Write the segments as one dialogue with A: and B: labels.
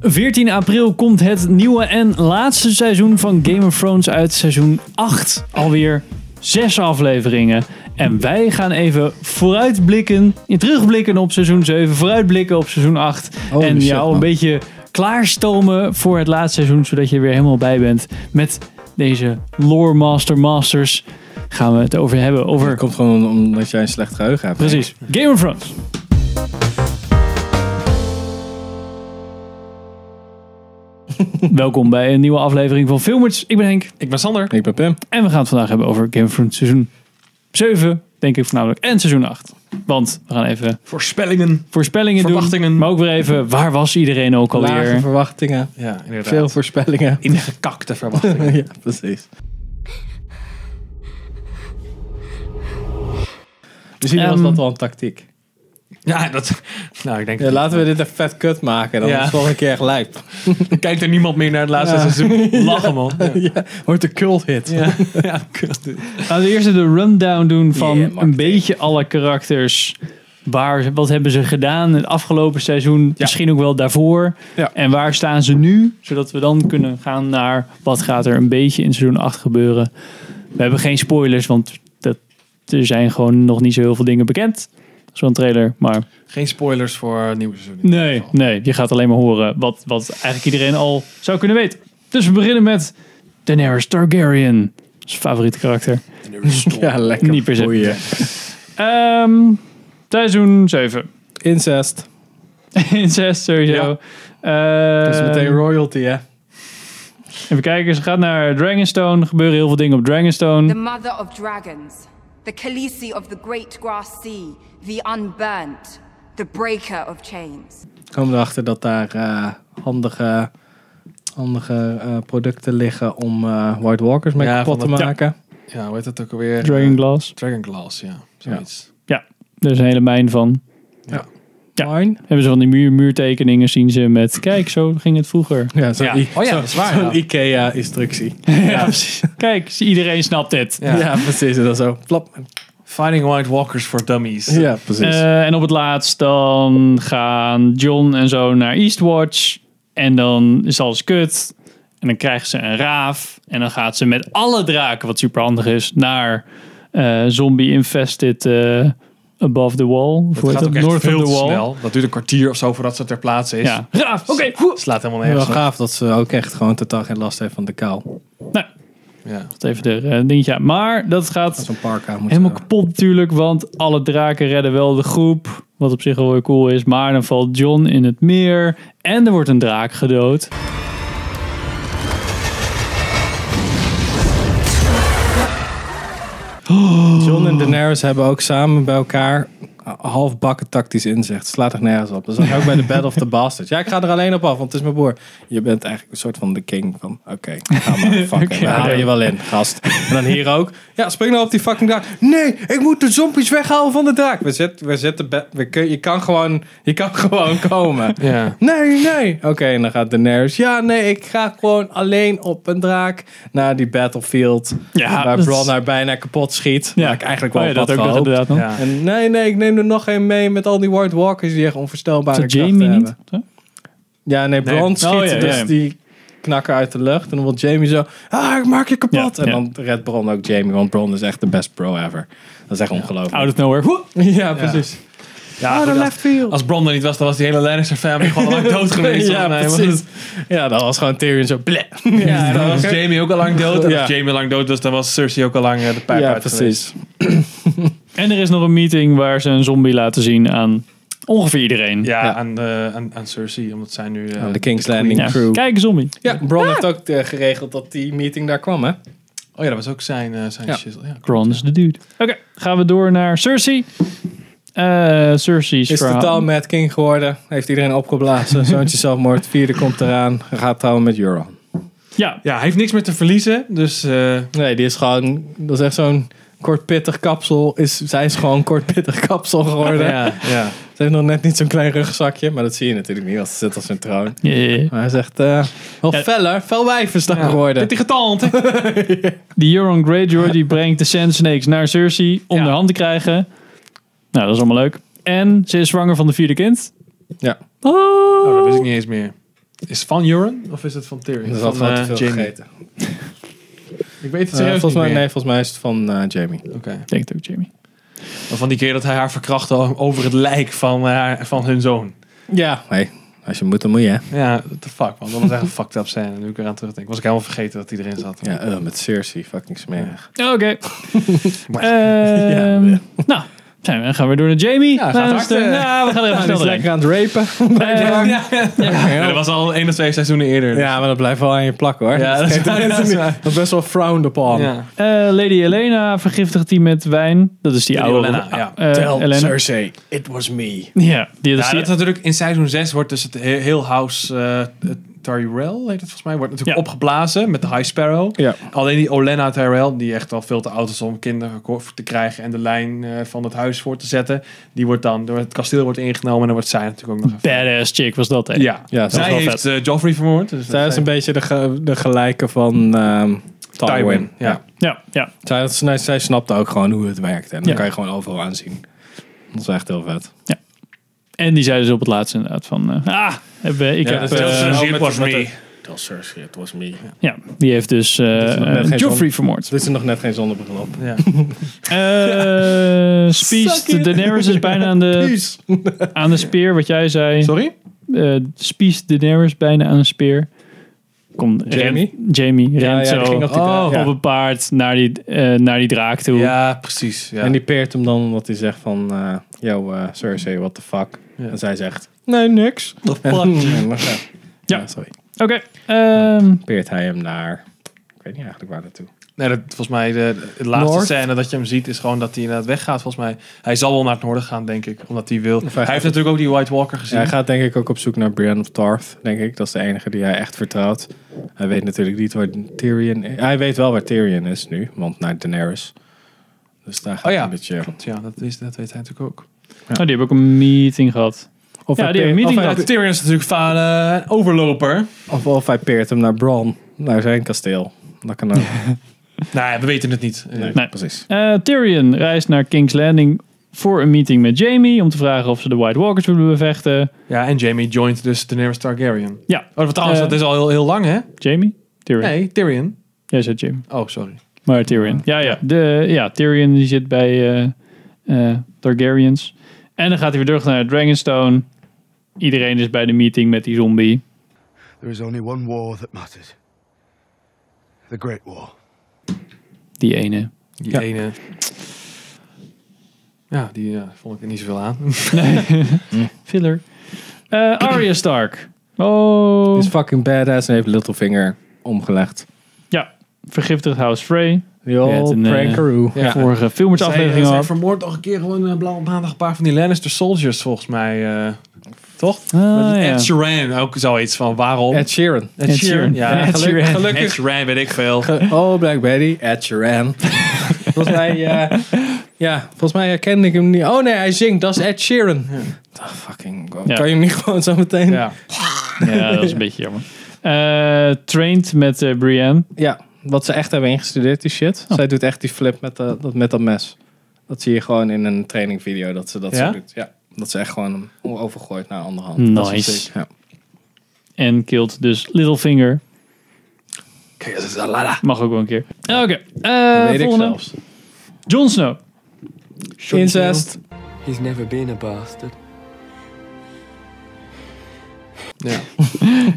A: 14 april komt het nieuwe en laatste seizoen van Game of Thrones uit. Seizoen 8 alweer. Zes afleveringen. En wij gaan even vooruitblikken. eh, Terugblikken op seizoen 7. Vooruitblikken op seizoen 8.
B: Holy
A: en
B: shit,
A: jou een
B: man.
A: beetje klaarstomen voor het laatste seizoen. Zodat je er weer helemaal bij bent. Met deze Lore Master Masters gaan we het over hebben. Over
B: Dat komt gewoon omdat jij een slecht geheugen hebt.
A: Precies. Game of Thrones. Welkom bij een nieuwe aflevering van Filmers. Ik ben Henk
C: Ik ben Sander.
B: Ik ben Pim.
A: en we gaan het vandaag hebben over Game of Thrones seizoen 7, denk ik voornamelijk, en seizoen 8. Want we gaan even
C: Voorspellingen.
A: voorspellingen
C: Verwachtingen.
A: doen, maar ook weer even waar was iedereen ook
B: Lage
A: alweer.
B: verwachtingen.
C: Ja, inderdaad.
B: Veel voorspellingen.
C: ingekakte verwachtingen.
B: ja, precies. Misschien was
A: Ehm,
B: dat wel een tactiek.
C: ja, dat... Nou, ik denk...
B: Ja, laten we dit een vet kut maken. Dan
C: Ja.
B: is het volgende keer gelijk.
C: Kijkt er niemand meer naar het laatste
B: Ja.
C: seizoen. Lachen, man.
B: ja, wordt een cult hit.
C: Ja. Ja, kut.
A: Laten we eerst even de rundown doen van
B: Yeah, Mark.
A: een beetje alle karakters. Waar, wat hebben ze gedaan het afgelopen seizoen? Misschien ook wel daarvoor.
B: Ja.
A: En waar staan ze nu? Zodat we dan kunnen gaan naar wat gaat er een beetje in seizoen 8 gebeuren. We hebben geen spoilers, want dat, er zijn gewoon nog niet zo heel veel dingen bekend. Zo'n trailer, maar
C: Geen spoilers voor het nieuwe seizoen. in
A: nee,
C: ieder geval.
A: nee, je gaat alleen maar horen wat, wat eigenlijk iedereen al zou kunnen weten. Dus we beginnen met Daenerys Targaryen. Zijn favoriete karakter.
C: En er is stom.
B: Ja, lekker.
A: Niet per se.
B: boeien.
A: Ehm seizoen 7.
B: Incest.
A: Incest sowieso. Eh,
B: Dat is Dus meteen royalty, hè?
A: Even kijken, ze gaat naar Dragonstone. Er gebeuren heel veel dingen op
D: The
A: Dragonstone.
D: mother of dragons, the Khaleesi of the great grass sea, the unburnt, the breaker of chains.
B: Komen erachter dat daar eh, handige, handige eh, producten liggen om eh, White Walkers mee
C: Ja,
B: kapot te
C: van dat-
B: maken.
C: Ja, hoe heet dat ook alweer? Eh,
A: Dragonglass.
C: Dragon Glass, ja. Zoiets.
A: Er is een hele mijn van. Ja.
B: Mine?
A: Hebben ze van die muur, muurtekeningen zien ze met... Kijk, zo ging het vroeger.
B: Ja, zo'n
C: Ja.
B: I-
C: Oh ja,
B: zo-
C: dat is waar,
B: zo'n
C: ja.
B: IKEA-instructie.
A: Ja, precies. Kijk, iedereen snapt dit.
B: Ja.
C: Ja.
B: precies. En dan zo. Plop.
C: Finding White Walkers for Dummies.
B: Ja, precies.
A: Eh, en op het laatst dan gaan John en zo naar Eastwatch. En dan is alles kut. En dan krijgen ze een raaf. En dan gaat ze met alle draken, wat super handig is, naar eh, Zombie Infested eh, Above the Wall. Of hoe
C: Het
A: heet
C: gaat
A: dat?
C: ook echt
A: North
C: veel
A: of
C: te
A: the Wall.
C: snel. Dat duurt een kwartier of zo voordat ze ter plaatse is.
A: Ja, raaf, oké. hoe.
C: Slaat helemaal
B: wel
C: nergens op.
B: gaaf dat ze ook echt gewoon totaal geen last heeft van de kou.
A: Nou,
C: Ja.
A: dat even de eh, dingetje. aan. Maar dat gaat
B: Zo'n parka moet
A: Helemaal kapot natuurlijk, want alle draken redden wel de groep. Wat op zich wel weer cool is. Maar dan valt John in het meer. En er wordt een draak gedood.
B: John en Daenerys hebben ook samen bij elkaar halfbakken tactisch inzicht. Slaat er nergens op. Dat zag je ook bij de Battle of the Bastards. Ja, ik ga er alleen op af, want het is mijn broer. Je bent eigenlijk een soort van de king van... Oké, ga maar. Fuck it. We houden je wel in, gast. En dan hier ook. Ja, spring nou op die fucking draak. Nee, ik moet de zombies weghalen van de draak. We zitten... We zitten be- we kun- je, kan gewoon, je kan gewoon komen.
C: Ja.
B: Nee, nee. Oké, en dan gaat Daenerys. Ja, nee, ik ga gewoon alleen op een draak naar die battlefield.
A: Ja,
B: waar
A: dat-
B: Bron haar bijna kapot schiet. Ja, ik eigenlijk wel
A: Oh ja, dat
B: wat
A: ook nog
B: gehoopt.
A: inderdaad nog.
C: Ja.
B: En nee, nee, ik neem er nog een mee met al die White Walkers die echt onvoorstelbare
A: Is dat
B: krachten
A: Jamie niet?
B: hebben. Ja, nee, Bron
C: Nee.
B: schiet
A: Oh, ja,
B: dus
A: ja.
B: die knakker uit de lucht. En dan wil Jamie zo, ah, ik maak je kapot.
A: Ja,
B: en
A: ja.
B: dan redt Bron ook Jamie, want Bron is echt de best pro ever. Dat is echt ongelooflijk.
A: Out of nowhere. Hoe.
B: Ja, precies.
C: Ja,
B: Ah,
C: goed,
B: de
C: als-
B: left field.
C: Als Bron er niet was, dan was die hele Lannister family gewoon al lang Oh, dood geweest.
B: ja,
C: Nee, maar
B: precies. Ja, dan was gewoon Tyrion zo, bleh. Ja,
C: En
B: en
C: dan
B: dan
C: was Jamie ook al lang dood. En
B: Ja.
C: als Jamie lang dood was, dan was Cersei ook al lang eh, de pijp
B: ja,
C: uit geweest.
B: precies.
A: En er is nog een meeting waar ze een zombie laten zien aan ongeveer iedereen.
C: Ja,
B: Ja.
C: Aan, eh, aan, aan Cersei, omdat zij nu... eh,
B: Aan de King's Landing
A: Ja.
B: crew.
A: Kijk, zombie.
B: Ja, Bron heeft ook eh, geregeld dat die meeting daar kwam, hè?
C: Oh ja, dat was ook zijn, eh zijn
B: Ja.
C: shizzle. Ja.
A: Kron is de dude. Oké, gaan we door naar Cersei. Eh Cersei's
B: Is
A: verhaal.
B: totaal Mad King geworden. Heeft iedereen opgeblazen. Zoontje zelfmoord. Vierde komt eraan. Gaat trouwen met Euron.
A: Ja,
C: ja, hij heeft niks meer te verliezen. Dus eh,
B: Nee, die is gewoon... Dat is echt zo'n kort pittig kapsel. Is, zij is gewoon kort pittig kapsel geworden.
C: ja, ja.
B: Ze heeft nog net niet zo'n klein rugzakje. Maar dat zie je natuurlijk niet, want ze zit op zijn troon.
A: Ja, ja, ja.
B: Maar hij is echt eh, wel
A: Ja.
B: fel, hè? Fel wijf is dat geworden.
C: Heeft hij getand? hè?
A: die Euron Greyjoy die brengt de Sand Snakes naar Cersei om
C: Ja.
A: de hand te krijgen. Nou, dat is allemaal leuk. En ze is zwanger van de vierde kind.
B: Ja.
A: Oh,
C: Oh, dat wist ik niet eens meer. Is het van Euron of is het van Tyrion?
B: Dat had
C: van,
B: gewoon te
C: eh,
B: veel
C: Jaime.
B: gegeten.
C: Ik weet het
B: Eh,
C: serieus
B: volgens, mij,
C: niet
B: nee,
C: meer.
B: volgens mij is het van eh, Jamie.
C: Oké.
A: Ik denk het ook, Jamie.
C: Maar Van die keer dat hij haar verkrachtte over het lijk van, haar, van hun zoon.
B: Ja. Hey, als je moet, dan moet je, hè?
C: Ja, what the fuck man. Dat was echt een fucked up scène. Nu ik eraan terugdenk. Was ik helemaal vergeten dat hij erin zat.
B: Ja, eh, met Cersei. Fucking smerig.
A: Oh, Oké. Ehm, nou, zijn we- dan gaan we door naar Jamie.
C: Ja, gaat
A: Nou, dat is
C: hard,
A: de-
C: eh.
A: nou, we gaan er even snel
B: Hij is
A: doorheen.
B: lekker aan het rapen.
A: Ehm,
C: Ja, dat was al één of twee seizoenen eerder. dus-
B: Ja, maar dat blijft wel aan je plakken, hoor.
C: Ja, dat is waar, dat is waar.
B: Dat is best wel frowned upon.
C: Ja.
A: eh, Lady Elena vergiftigt die met wijn. Dat is die
C: Lady
A: oude.
C: Olenna, ja.
A: eh, Elena.
B: Cersei, it was me.
A: Ja, die, dat is
C: Ja,
A: die-
C: dat is natuurlijk in seizoen 6 wordt dus het he- heel house eh, Tyrell, heet het volgens mij, wordt natuurlijk
A: Ja.
C: opgeblazen met de High Sparrow.
B: Ja.
C: Alleen die Olena Tyrell, die echt al veel te oud is om kinderen ko- te krijgen en de lijn eh, van het huis voor te zetten, die wordt dan door het kasteel wordt ingenomen en dan wordt zij natuurlijk ook nog even...
A: badass chick was dat, hè?
C: Ja,
B: Ja,
C: zij
B: dat is wel
C: heeft eh, Joffrey vermoord. Dus
B: Zij is een beetje de, ge- de gelijke van ehm, Tywin.
C: Tywin. Ja.
A: Ja, ja.
B: Zij, dat- zij, zij snapte ook gewoon hoe het werkt. En dan
A: Ja.
B: kan je gewoon overal aanzien. Dat is echt heel vet.
A: En die zei dus op het laatst inderdaad van... eh, ah, heb, eh, ik
B: Ja,
A: heb...
B: dat is heel
A: eh,
B: snel.
C: Shit was me.
B: Tell Cersei, it was me.
A: ja, die heeft dus eh,
B: is nog
A: eh,
B: net geen
A: Joffrey
B: zon.
A: vermoord.
B: Er is er nog net geen zonnebril op.
C: Ja.
A: Eh
B: Suck it.
A: Spies, Daenerys is bijna aan de,
B: Peace.
A: aan de speer, wat jij zei.
C: Sorry?
A: eh Spies, Daenerys bijna aan een speer. Kom,
B: Jamie?
A: rent- Jamie
B: Ja,
A: rent
B: ja, die
A: zo
B: ging op die draak,
A: op
B: ja.
A: een paard naar die, eh, naar die draak toe.
C: Ja, precies. Ja.
B: En die peert hem dan omdat hij zegt van... eh yo, eh, Cersei, what the fuck?
C: Ja.
B: En zij zegt... Nee, niks. The fuck?
A: Ja.
B: ja, sorry.
A: Oké. ehm,
B: Peert hij hem naar... Ik weet niet eigenlijk waar naartoe.
C: Nee, dat, volgens mij de, de laatste
B: Noord?
C: scène dat je hem ziet is gewoon dat hij inderdaad weggaat. Volgens mij, hij zal wel naar het noorden gaan, denk ik, omdat hij wil. Hij
B: gaat-
C: heeft natuurlijk ook die White Walker
B: Ja,
C: gezien.
B: hij gaat denk ik ook op zoek naar Brienne of Tarth, denk ik. Dat is de enige die hij echt vertrouwt. Hij weet natuurlijk niet waar Tyrion is. Hij weet wel waar Tyrion is nu, want naar Daenerys. Dus daar gaat
C: Oh ja.
B: hij een beetje...
C: Klopt, ja, dat, is, dat weet hij natuurlijk ook.
A: oh, die hebben ook een meeting gehad.
B: Of,
A: Ja,
B: hij
A: die
B: peert-
A: meeting
B: of, hij,
A: had-
C: Tyrion is natuurlijk van een overloper.
B: of, of hij peert hem naar Bron, naar zijn kasteel. Dat kan ook.
C: Nee, we weten het niet. Eh,
A: Nee.
B: Precies.
A: Eh, Tyrion reist naar King's Landing voor een meeting met Jamie om te vragen of ze de White Walkers willen bevechten.
C: Ja, en Jamie joint dus Daenerys Targaryen.
A: Ja,
C: Oh, wat trouwens,
A: Eh.
C: dat is al heel, heel lang, hè?
A: Jamie? Tyrion.
C: Nee, Tyrion.
A: Jij zei Jamie.
C: Oh, sorry.
A: Maar Tyrion. Ja, ja. De, ja Tyrion die zit bij eh, eh, Targaryens. En dan gaat hij weer terug naar Dragonstone. Iedereen is bij de meeting met die zombie.
E: There is only one war that matters the Great War.
A: Die ene.
C: Die
B: Ja.
C: ene. Ja, die eh, vond ik niet zoveel aan.
A: Filler. Eh Arya Stark. Oh.
B: Hij is fucking badass en heeft Littlefinger omgelegd.
A: Ja. Vergiftigd House Frey.
B: Yo,
A: Ja, het een, eh,
B: prankaroo.
C: ja.
A: Vorige filmertaflevering
C: Zij, zij
A: al.
C: vermoord nog een keer gewoon een blauw maandag een paar van die Lannister soldiers volgens mij. eh, toch?
A: Ah, ja.
C: Ed Sheeran, ook zoiets van waarom?
B: Ed Sheeran.
C: Ed
A: Sheeran.
C: Ja,
A: Ed
C: geluk-
A: Sheeran.
C: gelukkig. Ed Sheeran weet ik veel.
B: Oh, Black Betty, Ed Sheeran. volgens mij, eh, ja, volgens mij herkende ik hem niet. Oh nee, hij zingt, dat is Ed Sheeran. Ah, fucking, god.
A: Ja.
B: kan je hem niet gewoon zo meteen? Ja,
C: Ja. Nou,
A: Ja, dat is een beetje jammer. Eh, trained met eh, Brienne.
B: wat ze echt hebben ingestudeerd, die shit.
A: Oh.
B: Zij doet echt die flip met, de, dat, met dat mes. Dat zie je gewoon in een trainingvideo, dat ze dat
C: Ja?
B: zo doet. Ja, dat ze echt gewoon hem overgooit naar een andere hand. Dat is
A: Nice.
B: sick. Ja.
A: En killed dus Littlefinger.
B: Kijk, dat is een lala.
A: Mag ook wel een keer. Oké.
B: Dat
A: eh,
B: Eh, weet ik
A: volgende.
B: zelfs.
A: Jon Snow.
B: Incest.
F: He's never been a bastard.
C: Ja.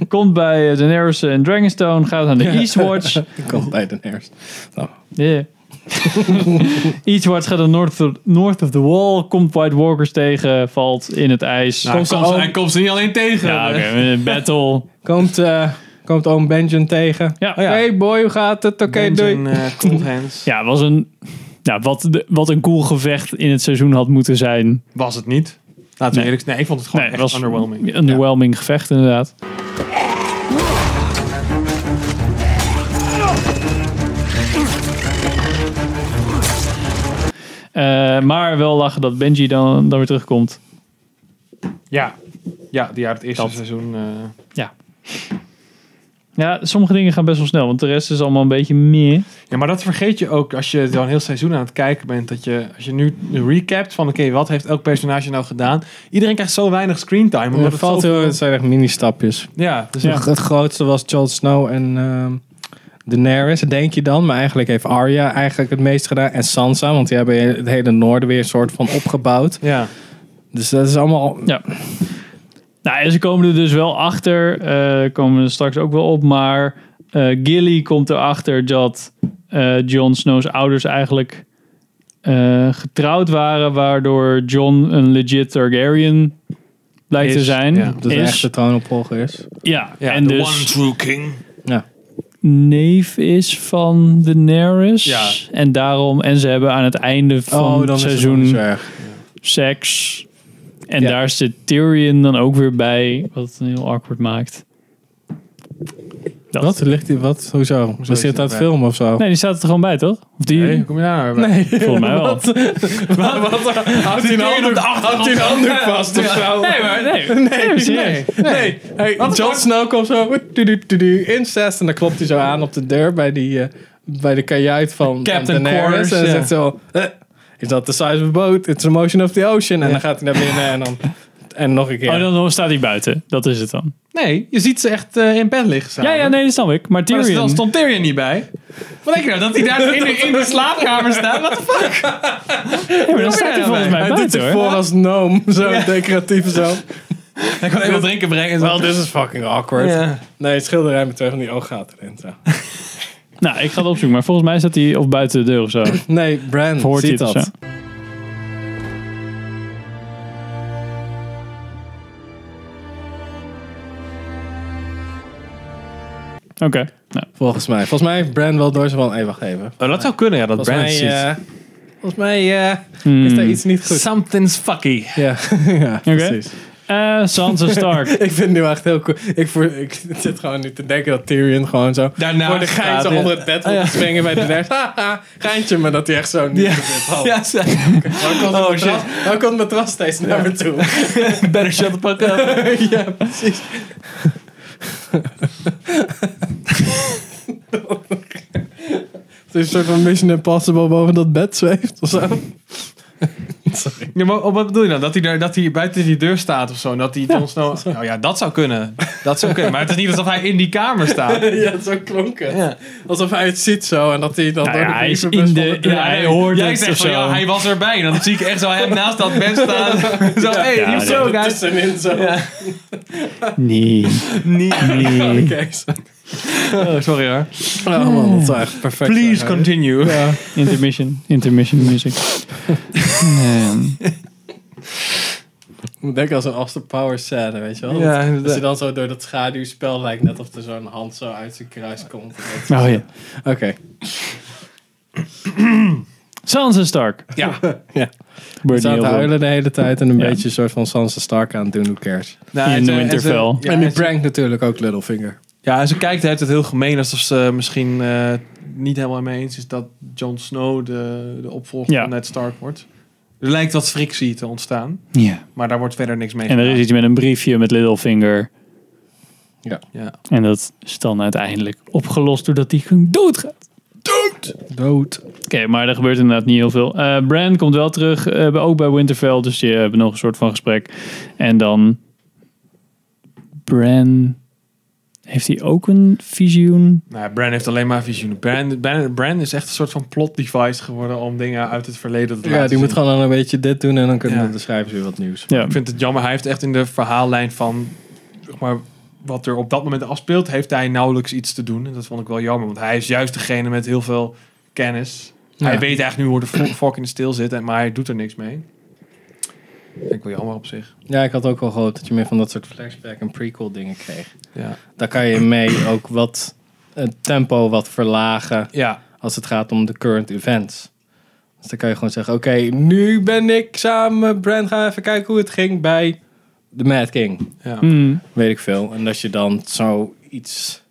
A: Komt bij eh, Daenerys en Dragonstone. Gaat naar de Eastwatch.
B: Ik kom bij de nerves. Nou,
A: Yeah. Eastwatch gaat naar north of, north of the Wall. Komt White Walkers tegen. Valt in het ijs.
C: Nou, hij, komt ze, hij komt ze niet alleen tegen.
A: ja, oké. eh, Battle.
B: komt, eh, komt oom Benjen tegen.
A: Ja.
B: Oh ja. Hey boy, hoe gaat het? Oké, doei.
C: Benjen, eh, Cold Hands.
A: Ja, was een... Nou, wat, de- wat een cool gevecht in het seizoen had moeten zijn.
C: Was het niet? Laten we
A: Nee.
C: eerlijk zijn. Nee, ik vond het gewoon
A: Nee, het
C: echt
A: was
C: underwhelming.
A: een underwhelming gevecht inderdaad. Eh, maar wel lachen dat Benji dan, dan weer terugkomt.
C: Ja. Ja, die uit het eerste
A: Dat.
C: seizoen. eh,
A: Ja. Ja, sommige dingen gaan best wel snel, want de rest is allemaal een beetje meer.
C: Ja, maar dat vergeet je ook als je zo'n heel seizoen aan het kijken bent. Dat je, als je nu recapt van, oké, wat heeft elk personage nou gedaan? Iedereen krijgt zo weinig screentime. Omdat
B: Het
C: het
B: valt
C: zo...
B: heel het zijn echt mini-stapjes.
C: Ja, dus
A: Ja.
C: ja.
B: Het grootste was Jon Snow en ehm Daenerys, denk je dan. Maar eigenlijk heeft Arya eigenlijk het meest gedaan. En Sansa, want die hebben het hele noorden weer een soort van opgebouwd.
C: ja.
B: Dus dat is allemaal...
A: Ja. Nou, en ze komen er dus wel achter. eh komen er straks ook wel op. Maar eh, Gilly komt erachter dat eh Jon Snow's ouders eigenlijk eh, getrouwd waren. Waardoor Jon een legit Targaryen blijkt
C: Is,
A: te zijn.
C: ja.
B: Dat is echt de
A: is.
B: troonopvolger is.
A: Ja,
C: Ja,
A: en
C: the
A: dus
C: true king.
B: Ja.
A: neef is van Daenerys.
C: Ja. Oh,
A: En daarom, en ze hebben aan het einde
B: Oh,
A: van het seizoen
B: erg.
A: seks. En
B: Ja.
A: daar zit Tyrion dan ook weer bij, wat het heel awkward maakt. Dat.
B: Wat? Ligt die, wat? Hoezo? We
C: is
B: zitten aan
C: het
B: het
C: bij?
B: filmen of zo?
A: Nee, die staat er gewoon bij, toch? Of die?
C: Hey, hoe kom je daar? Nee.
A: Volgens mij wel.
C: Houdt hij een handdoek Houdt hij een handdoek vast of zo?
A: Nee, maar nee. Nee, serieus.
B: Nee. Hey, Jon Snow komt zo... du- du- du- du- Incest. En dan klopt hij zo aan op de deur bij, die, eh, bij de kajuit van
C: Captain
B: van Daenerys.
C: Quarters,
B: En
C: ja.
B: zegt zo... "Eh, Is dat the size of a boat? It's the motion of the ocean. En dan gaat hij naar binnen en dan... En nog een keer.
A: Oh, dan nog staat hij buiten. Dat is het dan.
C: Nee, je ziet ze echt eh, in bed liggen
A: Ja,
C: samen.
A: ja, nee, dat snap ik. Maar
C: Maar
A: Tyrion...
C: dan stond Tyrion niet bij. Wat denk je nou? Dat hij daar in de, in de slaapkamer staat? Wat de fuck?
A: Ja, maar dan staat hij volgens mij
B: hij doet
A: buiten,
B: zich
A: hoor.
B: voor als noom. Zo decoratief zo.
C: Ik kan even wat drinken brengen.
B: Well, this is fucking awkward.
C: Ja.
B: Nee, het schilderij met twee van die ooggaten erin. Zo.
A: Nou, ik ga het opzoeken. Maar volgens mij staat hij of buiten de deur of zo.
B: Nee, Bran
A: Hoort hij
B: ziet
A: het of
B: dat.
A: zo. Oké. Nou,
B: Volgens mij. Volgens mij heeft Bran wel door ze van... Hé, wacht even.
C: Oh, dat zou kunnen, ja, dat
B: Volgens
C: Brand
B: mij,
C: ziet.
B: eh, volgens mij eh,
A: Hmm.
B: is daar iets
C: eh,
B: niet goed.
C: Something's fucky.
B: Ja, ja precies.
A: eh, Sansa Stark.
B: Ik vind het nu echt heel cool. Ik, voor, ik zit gewoon nu te denken dat Tyrion gewoon zo...
C: Daarnaast
B: voor de gein
C: staat,
B: zo
C: ja.
B: onder het bed
C: Oh,
B: wil
C: ja.
B: springen bij de nerd. Haha, Geintje, maar dat hij echt zo niet zit.
C: Ja, ze-
B: Dan komt het matras- dan komt het matras steeds naar me toe.
C: better shut the fuck up.
B: ja, precies. Het is een soort van Mission Impossible boven dat bed zweeft of zo.
C: Ja, maar wat bedoel je dan? Dat hij, daar, dat hij buiten die deur staat of zo? En dat hij Jon Snow... Nou ja, dat zou kunnen. Dat zou kunnen. Maar het is niet alsof hij in die kamer staat.
B: ja, zo klonk het. Alsof hij het ziet zo en dat hij dan
A: Nou
B: door
A: ja,
B: de
A: hij is
B: brievenbus
A: in
B: van
A: de-
B: deur-
A: ja, hij hoort
C: Jij
A: het
C: zegt
A: of
C: van,
A: zo.
C: ja, hij was erbij. En dan zie ik echt zo hem naast dat bed staan. Zo, hey,
A: Ja,
C: hier zo,
B: Ja,
C: guys.
B: tussenin zo.
A: Nee. Nee.
B: Oké.
C: Oh, sorry hoor.
B: Oh man, dat zou echt perfect
C: Please
B: zijn.
C: continue.
B: Ja.
A: Intermission. Intermission music.
B: Hmm.
A: Nee.
B: Ik moet denken als een Austin Powers scène, weet je wel?
C: Ja,
B: Dat- dat
C: inderdaad.
B: je dan zo door dat schaduwspel lijkt net of er zo'n hand zo uit zijn kruis komt.
A: Oh ja.
B: Oké.
A: Sansa Stark.
C: Ja.
A: Gebeurt
B: Ze aan
A: niet
B: het
A: heel veel.
B: huilen de hele tijd en een
A: Ja.
B: beetje een soort van Sansa Stark aan het doen, who cares.
C: Nou,
A: In de
C: en ze- en ze-
A: winterfell.
C: ja,
B: en die
C: en ze-
B: prank natuurlijk ook Littlefinger.
C: Ja, en ze kijkt het heel gemeen alsof ze misschien eh, niet helemaal mee eens is dat Jon Snow de, de opvolger
A: Ja.
C: van Ned Stark wordt. Er lijkt wat frictie te ontstaan,
A: Ja.
C: maar daar wordt verder niks mee
A: En er is
C: gedaan.
A: iets met een briefje met Littlefinger.
C: Ja.
A: En dat is dan uiteindelijk opgelost doordat hij gewoon doodgaat.
B: Dood.
A: Oké, maar er gebeurt inderdaad niet heel veel. Eh Bran komt wel terug, eh, bij- ook bij Winterfell. Dus die hebben nog een soort van gesprek. En dan... Bran... Heeft hij ook een visioen?
C: Nou, ja, Bran heeft alleen maar visioenen. Bran, Bran, Bran is echt een soort van plot device geworden om dingen uit het verleden te
B: Ja,
C: laten
B: die moet
C: zien.
B: gewoon dan een beetje dit doen en dan kunnen
C: Ja.
B: de schrijvers weer wat nieuws.
A: Ja.
C: Ik vind het jammer, hij heeft echt in de verhaallijn van zeg maar, wat er op dat moment afspeelt, heeft hij nauwelijks iets te doen. En dat vond ik wel jammer, want hij is juist degene met heel veel kennis. Hij
B: Ja.
C: weet eigenlijk nu hoe de vo- vork in de stil zit, en- maar hij doet er niks mee. Vind ik wel jammer op zich.
B: Ja, ik had ook wel gehoopt dat je meer van dat soort flashback en prequel dingen kreeg.
C: Ja,
B: Daar kan je mee ook wat het tempo wat verlagen
C: ja.
B: als het gaat om de current events. Dus dan kan je gewoon zeggen, oké, nu ben ik samen, Brand, gaan we even kijken hoe het ging bij The Mad King.
C: ja.
A: Hmm.
B: Weet ik veel. En dat je dan zo iets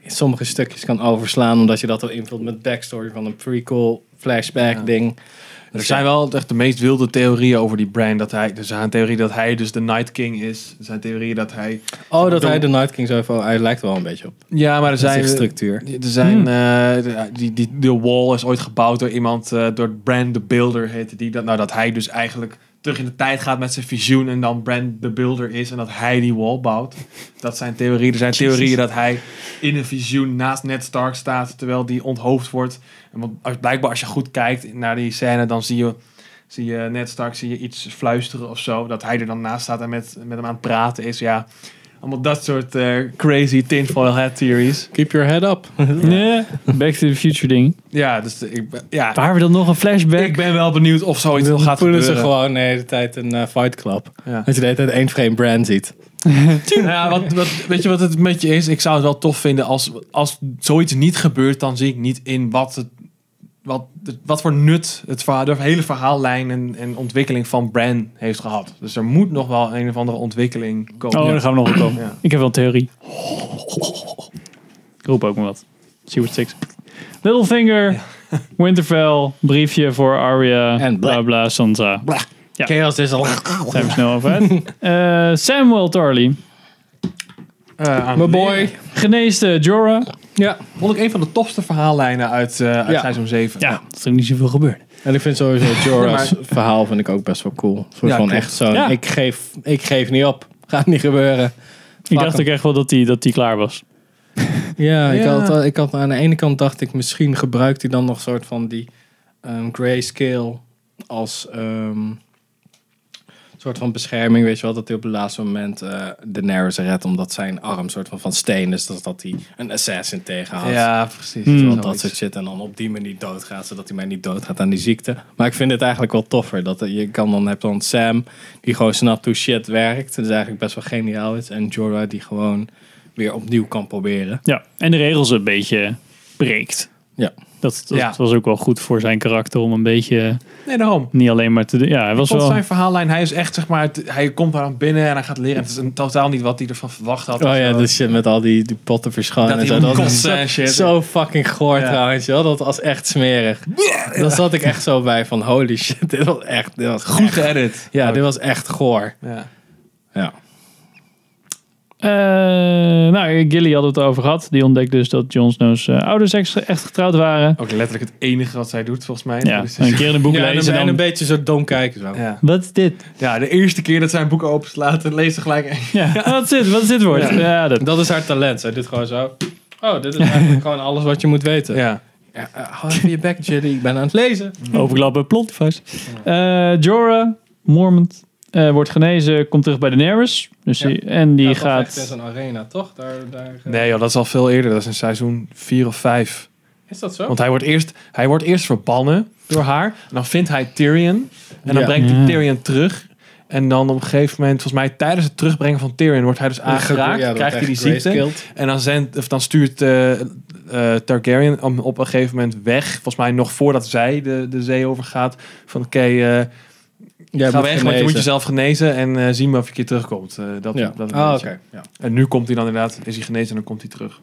B: in sommige stukjes kan overslaan, omdat je dat al invult met backstory van een prequel, flashback
C: Ja.
B: ding. Dus
C: Er zijn wel echt de meest wilde theorieën over die Bran. Dat hij, er zijn theorieën dat hij dus de Night King is. Er zijn theorieën dat hij...
B: Oh, dat hij de Night King zo heeft. oh, hij lijkt wel een beetje op.
C: Ja, maar er
B: Zijn
C: zijn...
B: structuur.
C: Er zijn, eh, de- die, die, de wall is ooit gebouwd door iemand, eh, door Brand the Builder heette die. Dat, nou, dat hij dus eigenlijk terug in de tijd gaat met zijn visioen en dan Brand the Builder is en dat hij die wall bouwt. Dat zijn theorieën. Er zijn theorieën dat hij in een visioen naast Ned Stark staat terwijl die onthoofd wordt. En want als, blijkbaar als je goed kijkt naar die scène, dan zie je, zie je Ned Stark zie je iets fluisteren of zo. Dat hij er dan naast staat en met, met hem aan het praten is. Ja, allemaal dat soort eh, crazy tinfoil hat theories.
B: Keep your head up.
A: Ja, Back to the Future ding.
C: Ja, dus de- ik, ben- ja,
A: Waar we dan nog een flashback?
C: ik ben wel benieuwd of zoiets
B: Dan
C: gaat
B: voelen
C: gebeuren.
B: ze gewoon de hele tijd een eh, fight club.
C: Ja.
B: Dat je de hele tijd één frame brand ziet.
C: Ja, want, wat, weet je wat het met je is? Ik zou het wel tof vinden als, als zoiets niet gebeurt, dan zie ik niet in wat, het, wat, het- wat voor nut het verhaal, de hele verhaallijn en, en ontwikkeling van Bran heeft gehad. Dus er moet nog wel een of andere ontwikkeling komen.
A: Oh, daar gaan we nog op komen.
C: Ja.
A: Ik heb wel een theorie. Ik roep ook maar wat. See what sticks. Littlefinger, Winterfell, briefje voor Arya,
B: En bla.
A: bla bla, Sansa. Ja.
B: Chaos is al...
A: Zijn we snel over uit. Eh, Samuel Tarly,
C: Eh, aan
B: My
C: de-
B: boy.
A: geneesde Jorah.
B: Ja.
C: Vond ik een van de tofste verhaallijnen uit, eh, uit
B: Ja.
C: seizoen 7.
A: Ja, dat is er niet zoveel gebeurd.
B: En ik vind sowieso Jorah's
C: Ja,
B: verhaal vind ik ook best wel cool. Een soort
C: Ja,
B: van
C: klopt.
B: echt zo'n,
A: Ja.
B: ik, geef, ik geef niet op. Gaat niet gebeuren.
A: Ik
B: Fuck
A: dacht
B: hem.
A: ook echt wel dat hij dat die klaar was.
B: Ja, Ik,
C: Ja.
B: had, ik had aan de ene kant dacht ik, misschien gebruikt hij dan nog soort van die ehm grayscale als ehm, soort van bescherming. Weet je wel, dat hij op het laatste moment eh Daenerys redt, omdat zijn arm soort van van steen is. Dus dat hij een assassin tegenhoudt.
C: Ja, precies.
B: Weet je wel, dat
C: Zoiets.
B: soort shit. En dan op die manier doodgaat, zodat hij mij niet doodgaat aan die ziekte. Maar ik vind het eigenlijk wel toffer. Dat je kan dan hebt dan Sam, die gewoon snapt hoe shit werkt. Dat is eigenlijk best wel geniaal is. En Jorah, die gewoon weer opnieuw kan proberen.
A: Ja, en de regels een beetje breekt.
B: Ja.
A: Dat, dat
C: Ja.
A: was ook wel goed voor zijn karakter om een beetje
C: Nee, daarom.
A: niet alleen maar te doen. Ja, hij was
C: vond
A: wel.
C: zijn verhaallijn, hij is echt zeg maar, het- hij komt daar aan binnen en hij gaat leren. Het is een, totaal niet wat hij ervan verwacht had.
B: Oh
C: of
B: ja,
C: zo.
B: dat shit met al die, die potten verschonen.
C: Dat
B: en
C: hij
B: zo.
C: moet
B: Dat is
C: kotsen en
B: zo-
C: shit.
B: Zo fucking goor
C: Ja.
B: trouwens. Joh. Dat was echt smerig. Daar zat ik echt zo bij van holy shit. Dit was echt... Dit was
C: goed
B: echt-
C: geëdit.
B: Ja, dit was echt goor.
C: Ja.
B: Ja.
A: Eh, nou, Gilly had het over gehad. Die ontdekt dus dat Jon Snow's eh, ouders echt echt getrouwd waren.
C: Ook letterlijk het enige wat zij doet, volgens mij.
A: Ja,
C: Dus-
A: een keer in een boek
B: Ja, en,
A: lezen.
B: en
A: Dan,
B: een beetje zo dom kijken. Zo.
C: ja.
A: Wat is dit?
C: ja, de eerste keer dat zij een boek openslaat, dan leest ze gelijk.
A: Ja, wat is dit? Wat is dit woord? Ja, dat.
B: Dat is haar talent. Zij doet gewoon zo. Oh, dit is eigenlijk gewoon alles wat je moet weten.
C: Ja.
B: Ja, eh, hou even je bek, Jerry. Ik ben aan het lezen.
A: Overklappen, plotdevice. Eh Jorah, Mormont, eh, wordt genezen, komt terug bij Daenerys. Dus
B: Ja.
A: die, en die
B: In
A: gaat...
B: zo'n arena, toch? Daar, daar, eh,
C: Nee, joh, dat is al veel eerder. Dat is in seizoen 4 of 5.
B: Is dat zo?
C: Want hij wordt, eerst, hij wordt eerst verbannen door haar. En dan vindt hij Tyrion. En dan
B: Ja. Mhm.
C: brengt hij
A: Ja.
C: Tyrion terug. En dan op een gegeven moment, volgens mij tijdens het terugbrengen van Tyrion, wordt hij dus aangeraakt.
B: Ja, dat
C: krijgt hij die
B: echt
C: ziekte.
B: grayscaled.
C: En dan, zendt, of dan stuurt eh, eh, Targaryen hem op een gegeven moment weg. Volgens mij nog voordat zij de, de zee overgaat. Van oké, eh,
B: Jij
C: ga
B: bent
C: weg, want je moet
B: genezen.
C: jezelf genezen. En eh zien we of je keer terugkomt. Eh, dat,
B: Ja.
C: dat
B: Ah,
C: een
B: oké.
C: beetje.
B: Ja.
C: En nu komt hij dan inderdaad, is hij genezen en dan komt hij terug.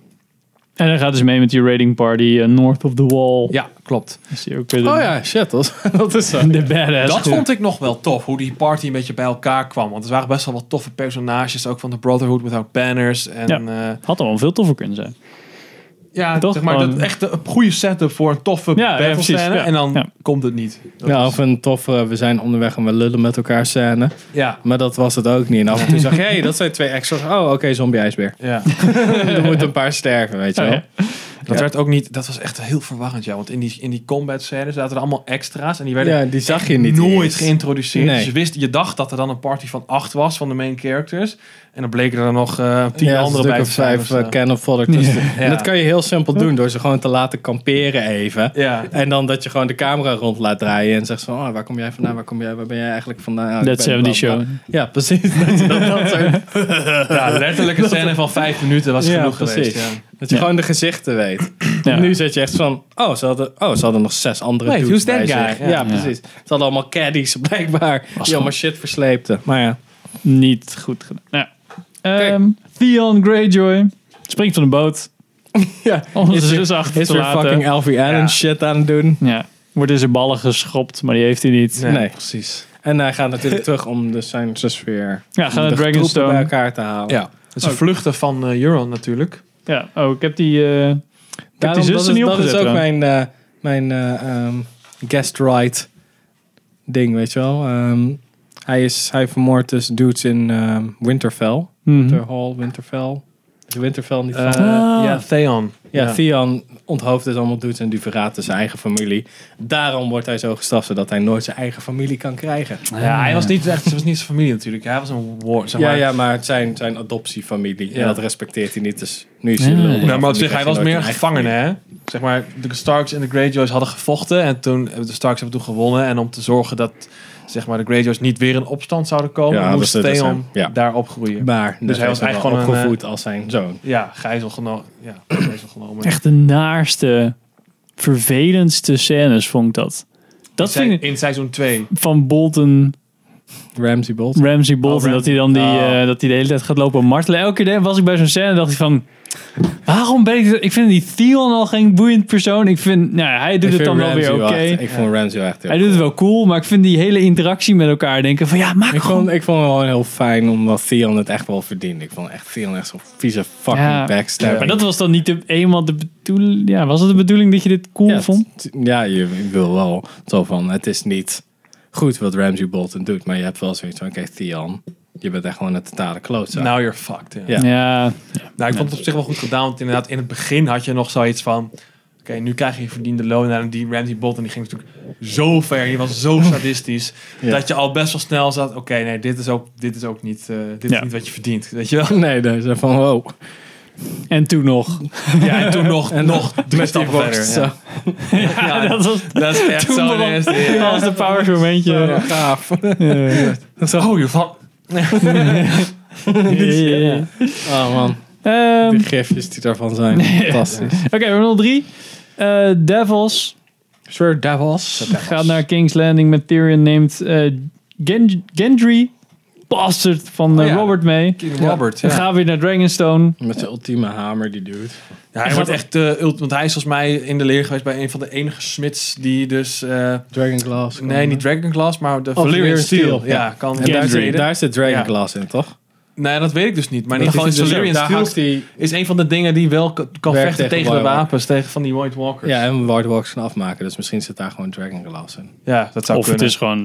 A: En hij gaat dus mee met die raiding party eh, north of the wall.
C: Ja, klopt.
A: Is die ook weer de,
B: Oh ja, shit. Dat, dat is zo.
A: de badass.
C: dat vond ik nog wel tof, hoe die party een beetje bij elkaar kwam. Want er waren best wel wat toffe personages, ook van de Brotherhood Without Banners. En
A: Ja.
C: ja,
A: Had al wel veel toffer kunnen zijn.
C: ja
A: Toch?
C: zeg maar,
A: Gewoon-
C: dat, echt een goede setup voor een toffe
A: Ja, ja,
C: battle
A: precies,
C: scène.
A: ja.
C: En dan
A: Ja.
C: komt het niet. Dat
B: Ja,
C: is-
B: of een toffe, we zijn onderweg en we lullen met elkaar scène.
C: ja.
B: Maar dat was het ook niet. En af en toe zag je, hey, dat zijn twee extra's. Oh, oké, zombie-ijsbeer.
C: Ja.
B: er moeten een paar sterven, weet je
A: Oh,
B: wel.
A: ja.
C: Dat werd ook niet, dat was echt heel verwarrend, ja. Want in die, in die combat scène zaten er allemaal extra's en die werden
B: Ja, die zag je niet
C: nooit
B: eerst.
C: geïntroduceerd.
B: Nee.
C: Dus je, wist, je dacht dat er dan een party van acht was van de main characters. En dan bleken er nog eh, tien
B: ja,
C: andere bij te zijn.
B: vijf
C: of zo.
B: eh, cannon fodder tussen. En
C: Ja.
B: dat kan je heel simpel doen door ze gewoon te laten kamperen even.
C: ja.
B: En dan dat je gewoon de camera rond laat draaien en zegt van, oh, waar kom jij vandaan, waar kom jij, waar ben jij eigenlijk vandaan? Ja, ik
A: That
B: ben bla,
A: 70 show.
B: bla. Ja, precies. Dat je, dat, dat zo-
C: ja, letterlijk een scène van vijf minuten was
B: Ja,
C: genoeg
B: precies.
C: geweest. Ja.
B: dat je
A: Ja.
B: gewoon de gezichten weet.
A: Ja.
B: Nu zet je echt van, oh, ze hadden, oh, ze hadden nog zes andere
C: Wait,
B: dudes
C: who's that
B: bij
C: guy?
B: zich. Ja,
C: Ja.
B: precies. Ze hadden allemaal caddies blijkbaar, die allemaal shit versleepten. Maar ja.
A: Niet goed gedaan. Nou, ja. Ehm, Theon Greyjoy springt van de boot
B: ja.
A: om
B: Is
A: zijn
B: weer-
A: zus achter
B: Is
A: te
B: weer
A: laten.
B: fucking Alfie Allen
C: Ja.
B: shit aan het doen.
A: Ja. Wordt in zijn ballen geschopt, maar die heeft hij niet.
B: Nee.
C: precies.
B: En hij gaat natuurlijk terug om de zijn sfeer.
A: Ja, gaan
B: om de
A: naar
B: troepen
A: Dragonstone.
B: bij elkaar te halen.
C: Ja. Dus ze
A: Oh.
C: vluchten van eh Euron natuurlijk.
A: Ja, oh, ik heb die, eh, ik heb
B: Daarom,
A: die zus
B: dat is,
A: er niet
B: dat is
A: opgezet.
B: ook
A: dan.
B: mijn, eh, mijn eh, ehm, guest right ding, weet je wel. Ehm, hij, is, hij vermoordt dus dudes in ehm, Winterfell.
A: Mhm.
B: Winterhall, Winterfell. Is Winterfell niet
C: Eh,
B: van-
A: Ah.
C: Ja, Theon.
B: Ja, Theon onthoofdt dus allemaal dudes en die verraadt dus zijn eigen familie. Daarom wordt hij zo gestraft, zodat hij nooit zijn eigen familie kan krijgen.
C: Ja, hij was niet echt, ze was niet zijn familie natuurlijk. Hij was een war, zeg
B: ja,
C: maar.
B: ja, maar het zijn, zijn adoptiefamilie. En
C: Ja.
B: dat respecteert hij niet, dus nu is hij een lul.
C: Nou, maar op
B: Die
C: zich, hij
B: krijgt
C: was
B: nooit
C: meer een
B: eigen
C: gevangene, hè? Zeg maar, de Starks en de Greyjoys hadden gevochten. En toen, de Starks hebben toen gewonnen. En om te zorgen dat, zeg maar, de Greyjoys niet weer in opstand zouden komen,
B: Ja, dat
C: moest
B: is- dat is
C: Theon
B: hem. Ja.
C: daar opgroeien.
B: familie. Maar dus hij was eigenlijk gewoon
C: een,
B: opgevoed als zijn zoon.
C: ja, gijzel genomen. Ja, gijzel genomen.
A: Echt de naarste, vervelendste scènes vond ik dat. Dat
C: Zij-
A: vind ik
C: in seizoen 2.
A: van Bolton,
B: Ramsey Bolt.
A: Ramsey Bolton,
C: Ram-
A: dat hij dan die,
C: Oh.
A: eh, dat hij de hele tijd gaat lopen martelen. Elke keer was ik bij zo'n scène en dacht ik van, waarom ben ik, ik vind die Theon al geen boeiend persoon. Ik vind, nou ja, hij doet het dan wel weer oké.
B: Ik vond Ramsey wel echt heel
A: Hij doet het wel cool, maar ik vind die hele interactie met elkaar denken van, ja, maak
B: Ik
A: gewoon
B: vond, ik vond het wel heel fijn, omdat Theon het echt wel verdiende. Ik vond echt Theon echt zo'n vieze fucking
A: Ja.
B: backstabber.
A: Maar dat was dan niet de, eenmaal de bedoeling. Ja, was het de bedoeling dat je dit cool
B: ja,
A: vond?
B: het- ja, je wil wel zo van, het is niet goed wat Ramsey Bolton doet, maar je hebt wel zoiets van, oké Theon, je bent echt gewoon een totale klootzak.
C: Now you're fucked. Ja.
B: Ja.
A: Ja,
C: Nou, ik vond het op zich wel goed gedaan. Want inderdaad, in het begin had je nog zoiets van... Oké, nu krijg je je verdiende loon. En die Ramsey Bolton die ging natuurlijk zo ver. Die was zo sadistisch.
B: Ja.
C: Dat je al best wel snel zat... Oké, nee, dit is ook, dit is ook niet, eh, dit
A: Ja.
C: is niet wat je verdient. Weet je wel?
B: Nee, daar is van, wow.
A: en toen nog.
C: Ja, en toen nog,
B: En
C: nog drie
B: Die
C: stappen
B: worst,
C: verder.
B: zo.
C: Ja. Ja,
A: dat was,
C: Dat is echt
A: toen
C: zo
A: begon-
C: nasty.
A: dat
C: Ja.
A: was de power momentje.
B: Ja, gaaf.
C: Oh, je van...
A: Ja, ja, ja.
B: Oh man,
A: Ehm,
B: die gifjes die daarvan zijn, fantastisch.
A: Oké, we hebben nog drie. Eh, Devils
B: Sure Devils.
A: gaat naar King's Landing met Tyrion, neemt eh, Gen- Gendry, bastard, van eh,
C: Oh ja.
A: Robert mee.
C: Robert.
A: We
C: Ja.
A: gaan weer naar Dragonstone.
B: Met zijn ultieme hamer, die dude.
C: Ja, hij wordt echt... eh, ult- want hij is volgens mij in de leer geweest bij een van de enige smits die dus... eh,
B: Dragon Glass.
C: nee, niet Dragon Glass, maar de
B: Valyrian
C: Oh, Valyrian Steel.
B: Steel, ja.
C: Ja, kan...
B: En daar
A: Gendry.
B: zit, daar zit Dragon
C: Ja.
B: Glass in, toch?
C: Nee, dat weet ik dus niet. Maar in
B: Dat
C: ieder geval
B: is
C: is
B: dus ook-
C: Valyrian
B: daar
C: Steel
B: hangt die-
C: is een van de dingen die wel k- kan
B: Werkt tegen
C: vechten tegen de
B: White
C: wapens, tegen van die White Walkers.
B: Ja, en White Walkers gaan afmaken, dus misschien zit daar gewoon Dragon Glass in.
C: Ja, dat zou
A: of het
C: kunnen.
A: is gewoon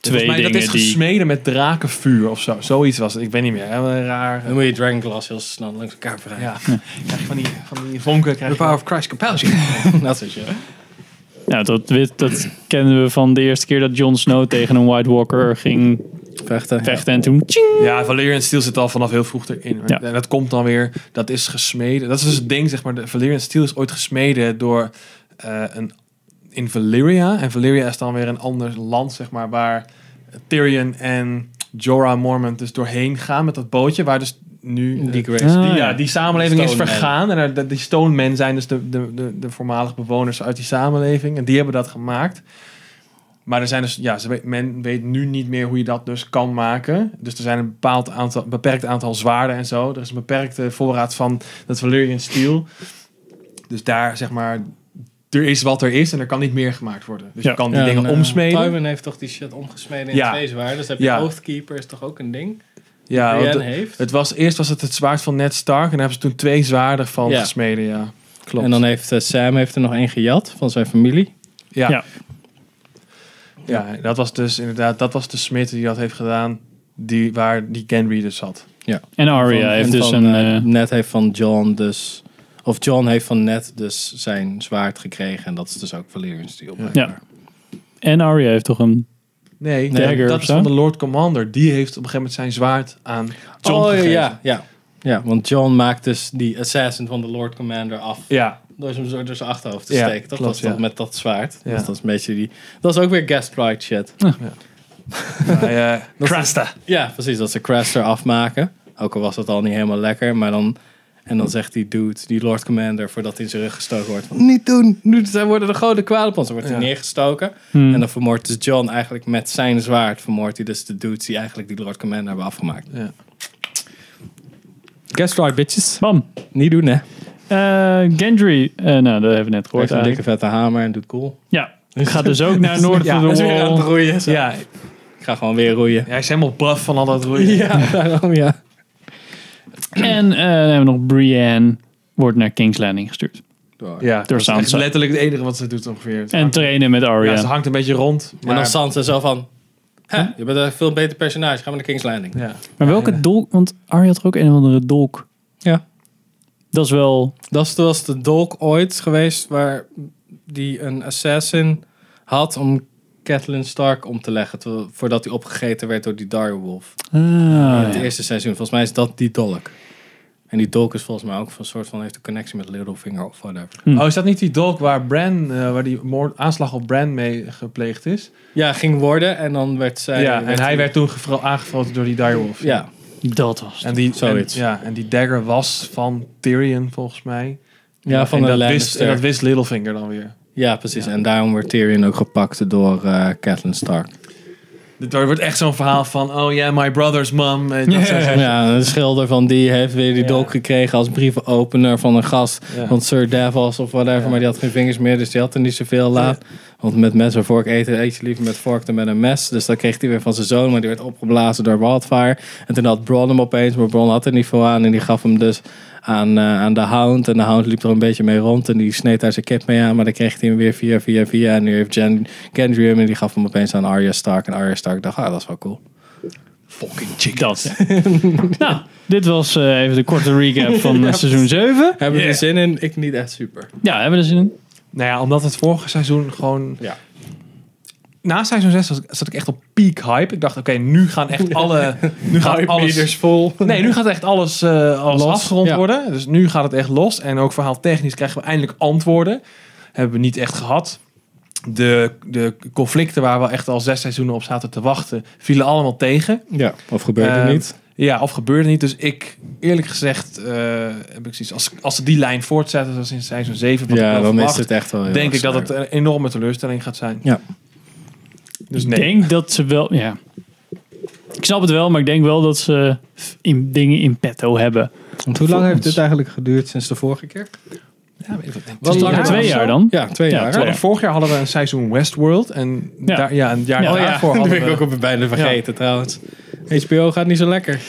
A: twee
C: Volgens mij, dat
A: dingen
C: is
A: die...
C: gesmeden met drakenvuur of zo. Zoiets was het. Ik weet niet meer. Heel raar.
B: Dan moet je Dragon Glass heel snel langs elkaar verrijden.
C: Ja, krijg je van die, van die vonken. Krijg je
B: of Christ compels you. dat is het, ja.
A: Ja, dat, wit- dat kennen we van de eerste keer dat Jon Snow tegen een White Walker ging
B: Vechten.
A: vechten. En toen... tjing.
C: Ja, Valyrian Steel zit al vanaf heel vroeg erin.
A: Ja.
C: En dat komt dan weer, dat is gesmeden. Dat is dus het ding, zeg maar. De Valyrian Steel is ooit gesmeden door eh, een, in Valyria. En Valyria is dan weer een ander land, zeg maar, waar Tyrion en Jorah Mormont dus doorheen gaan met dat bootje. Waar dus nu... eh,
B: Die Grace.
A: Ah,
C: die- ja, die samenleving is
B: Stone Men.
C: vergaan. En er- de- die Stone Men zijn dus de, de, de, de voormalige bewoners uit die samenleving. En die hebben dat gemaakt. Maar er zijn dus, ja, ze weet- men weet nu niet meer hoe je dat dus kan maken. Dus er zijn een bepaald aantal, beperkt aantal zwaarden en zo. Er is een beperkte voorraad van dat Valyrian Steel. Dus daar, zeg maar, er is wat er is en er kan niet meer gemaakt worden. Dus
A: Ja.
C: je kan die
B: Ja,
C: dingen
B: en, eh,
C: omsmeden.
B: Tywin heeft toch die shit omgesmeden in
C: Ja.
B: twee zwaarden. Dus heb je
C: Ja.
B: Oathkeeper is toch ook een ding?
C: Ja,
B: Brienne
C: want het-
B: heeft.
C: het was, eerst was het het zwaard van Ned Stark. En daar hebben ze toen twee zwaarden van
B: Ja.
C: gesmeden, ja. Klopt.
B: En dan heeft eh, Sam heeft er nog één gejat van zijn familie.
A: Ja.
C: Ja. ja. dat was dus inderdaad, dat was de smid die dat heeft gedaan, die, waar die Gendry dus zat.
A: En Arya
B: Van-
A: heeft
B: en
A: dus
B: van,
A: een...
B: eh,
A: eh,
B: Ned heeft van John dus... Of John heeft van Ned dus zijn zwaard gekregen. En dat is dus ook Valyrian Steel. blijkbaar.
A: en Arya heeft toch een...
C: Nee,
A: Nee, Dagger
C: dat
A: of
C: is
A: zo?
C: van de Lord Commander. Die heeft op een gegeven moment zijn zwaard aan John
B: oh,
C: gegeven.
B: ja, ja. Ja, want John maakt dus die assassin van de Lord Commander af.
C: Ja,
B: Door hem zo door zijn achterhoofd te
C: Ja,
B: steken. Dat
C: klopt,
B: was toch
C: ja.
B: met dat zwaard.
C: Ja.
B: Dus dat is een beetje die... Dat is ook weer gaslight shit.
C: bij, eh, Crasta.
B: Ja, precies. Dat ze Craster afmaken. Ook al was dat al niet helemaal lekker. Maar dan... En dan zegt die dude, die Lord Commander, voordat hij in zijn rug gestoken wordt... Van, niet doen! Nu, zij worden de goden kwaad op ons. Dan wordt hij
C: Ja.
B: neergestoken. En dan vermoordt dus John eigenlijk met zijn zwaard... vermoordt hij dus de dudes die eigenlijk die Lord Commander hebben afgemaakt.
C: Ja.
B: Gaslight, bitches.
A: Bam.
B: Niet doen, hè.
A: Eh, Gendry. eh, nou, dat hebben we net
B: Hij
A: gehoord
B: heeft een dikke
A: eigenlijk.
B: vette hamer en doet cool.
A: Ja. Ga dus ook naar Noord
B: Ja,
A: van
B: is
A: de
B: weer aan het
A: Wall.
B: roeien. zo.
C: Ja,
B: Ik ga gewoon weer roeien.
C: hij is helemaal buff van al dat roeien.
B: Ja, daarom ja.
A: En eh, dan hebben we nog Brienne. Wordt naar King's Landing gestuurd.
C: Ja, dat is echt
A: Sansa.
C: letterlijk het enige wat ze doet ongeveer. Ze
A: En
C: hangt-
A: trainen met
C: ja, ze
A: Arya.
C: hangt een beetje rond.
B: Maar
C: Maar
B: dan Sansa zo van... Hè, je bent een veel beter personage. Ga maar naar King's Landing.
C: ja.
A: Maar welke dolk? Want Arya had er ook een of andere dolk.
B: Ja.
A: Dat is wel...
B: Dat was de dolk ooit geweest waar die een assassin had om Catelyn Stark om te leggen. terwijl- voordat hij opgegeten werd door die direwolf.
A: Ah,
B: in het
A: ja.
B: eerste seizoen. Volgens mij is dat die dolk. En die dolk is volgens mij ook van een soort van heeft een connectie met Littlefinger of whatever.
A: Hm.
C: Oh, is dat niet die dolk waar Bran, eh, waar die moord, aanslag op Bran mee gepleegd is?
B: Ja, ging worden en dan werd zij.
C: ja, en hij werd toen gevro- aangevallen door die direwolf.
B: Ja,
A: Dat was het.
C: En die,
B: Zoiets.
C: En, ja, en die dagger was van Tyrion volgens mij.
B: ja van
C: en,
B: de
C: dat wist, en dat
B: Lannister.
C: wist Littlefinger dan weer.
B: Ja, precies. En daarom werd Tyrion ook gepakt door eh Catelyn Stark.
C: Dit er wordt echt zo'n verhaal van, oh ja, my brother's mom. eh, dat soort-
B: Ja, een schilder van die heeft weer die
C: Ja.
B: dolk gekregen als brievenopener van een gast.
C: Ja.
B: Want Sir Davos of whatever, maar die had geen vingers meer, dus die had er niet zoveel laat. Want met mes en vork eten eet je liever met vork dan met een mes. Dus dat kreeg hij weer van zijn zoon, maar die werd opgeblazen door Wildfire. En toen had Bron hem opeens, maar Bron had er niet veel aan. En die gaf hem dus aan, eh, aan de hound. En de hound liep er een beetje mee rond en die sneed daar zijn kip mee aan. Maar dan kreeg hij hem weer via, via, via. En nu heeft Jen Gendry hem en die gaf hem opeens aan Arya Stark. En Arya Stark dacht, ah, dat is wel cool.
C: Fucking chick.
A: Dat. nou, dit was eh, even de korte recap van eh, seizoen 7.
B: Hebben we er zin in? Ik niet echt super.
A: Ja, hebben we er zin in?
C: Nou ja, omdat het vorige seizoen gewoon...
B: Ja.
C: Na seizoen 6 was, ik- zat ik echt op peak hype. Ik dacht, oké, nu gaan echt alle... Nu gaat alles...
B: vol.
C: Nee, nu gaat echt alles, eh, alles
B: Los,
C: afgerond
B: ja.
C: worden. Dus nu gaat het echt los. En ook verhaaltechnisch krijgen we eindelijk antwoorden. Hebben we niet echt gehad. De, de conflicten waar we echt al zes seizoenen op zaten te wachten... vielen allemaal tegen.
B: Ja, of gebeurt
C: Ehm,
B: er niet.
C: Ja, of gebeurde niet. Dus ik, eerlijk gezegd, eh, heb ik zoiets... Als, als ze die lijn voortzetten zoals in seizoen 7... Wat ik
B: Ja,
C: wel
B: dan
C: verwacht,
B: is het echt wel heel
C: denk
B: erg
C: ik dat het
B: zwaar.
C: een enorme teleurstelling gaat zijn.
B: Ja.
C: Dus
A: ik
C: nee.
A: denk dat ze wel. Ja. Ik snap het wel, maar ik denk wel dat ze in, dingen in petto hebben.
B: Want hoe lang heeft dit eigenlijk geduurd sinds de vorige keer?
C: Ja, weet ik wat.
B: Wat
C: Drie
B: langer
C: jaar
B: dan
A: twee
C: of zo?
A: jaar dan? Nou,
B: Ja, twee
A: Ja,
B: jaar.
A: twee
C: Ja, Vorig jaar hadden we een seizoen Westworld. En
A: Ja.
C: daar, ja, een jaar
A: Ja.
B: Oh ja,
C: daarvoor
B: dat
C: hadden
B: ben ik
C: we...
B: ook op bijna vergeten trouwens. HBO gaat niet zo lekker.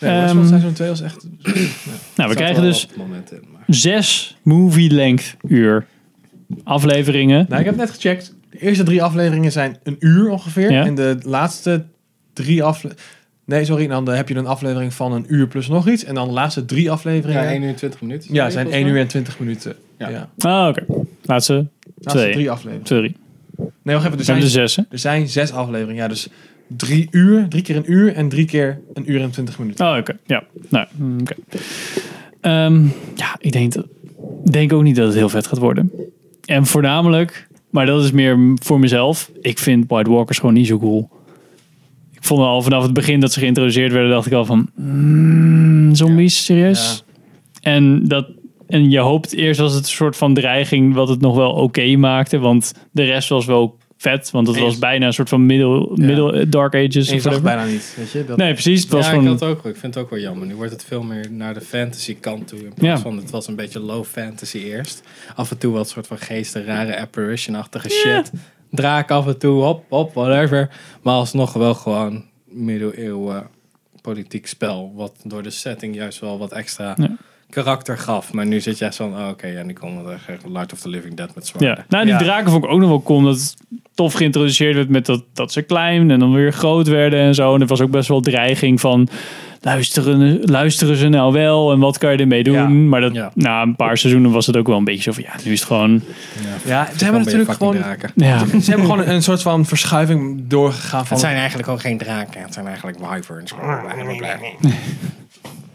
C: Nee,
A: Ehm,
C: Westworld seizoen 2 was echt...
A: nou, we krijgen dus
B: Momenten, maar.
A: zes movie-length uur afleveringen.
C: Nou, ik heb net gecheckt. De eerste drie afleveringen zijn een uur ongeveer.
A: Ja.
C: En de laatste drie afleveringen... Nee, sorry. Dan heb je een aflevering van een uur plus nog iets. En dan de laatste drie afleveringen...
B: Ja,
C: Ja,
B: 1 uur 20 minuten.
C: zijn 1 uur en 20 minuten. Ja.
B: Ja.
A: Ah, oké. Laatste
C: Laatste
A: twee.
C: drie afleveringen.
A: Sorry.
C: Nee, wacht even. Er
A: We hebben
C: zijn,
A: er zes, hè?
C: er zijn zes afleveringen. Ja, dus drie uur, drie keer een uur en drie keer een uur en 20 minuten.
A: Oh, oké. Ja. Nou, mm, oké. Ehm, ja, ik denk, dat- denk ook niet dat het heel vet gaat worden. En voornamelijk, maar dat is meer m- voor mezelf. Ik vind White Walkers gewoon niet zo cool. Ik vond al vanaf het begin dat ze geïntroduceerd werden, dacht ik al van... mm, zombies, serieus? En dat... En je hoopt eerst was het een soort van dreiging wat het nog wel oké maakte. Want de rest was wel vet. Want het
C: Eens.
A: was bijna een soort van middle, middle Dark Ages.
C: En je
A: Of
C: zag het
A: whatever.
C: bijna niet, weet je? Dat,
A: Nee, precies. Het was
B: ja, ik,
A: gewoon...
B: had het ook, wel. ik vind het ook wel jammer. Nu wordt het veel meer naar de fantasy kant toe. In plaats
A: Ja.
B: van, het was een beetje low fantasy eerst. Af en toe wat soort van geesten, rare apparition-achtige shit. Draak af en toe, hop, hop, whatever. Maar alsnog wel gewoon middeleeuwen politiek spel. Wat door de setting juist wel wat extra
A: Ja.
B: karakter gaf. Maar nu zit jij zo van, oh, oké, ja, nu komt het echt Light of the Living Dead met zwaarden.
A: Ja. Nou, die
C: Ja.
A: draken vond ik ook nog wel cool. Dat het tof geïntroduceerd werd met dat, dat ze klein en dan weer groot werden en zo. En er was ook best wel dreiging van... Luisteren, luisteren ze nou wel en wat kan je ermee doen?
C: Ja.
A: Maar dat,
B: Ja.
A: na een paar seizoenen was het ook wel een beetje zo van... Ja, nu is het gewoon...
C: Ja, ze
B: Dan
C: hebben
B: ben je
C: natuurlijk
B: fucking
C: gewoon...
B: draken.
A: Ja,
C: Ze hebben gewoon een, een soort van verschuiving doorgegaan van...
B: Het zijn eigenlijk ook geen draken, het zijn eigenlijk wyverns.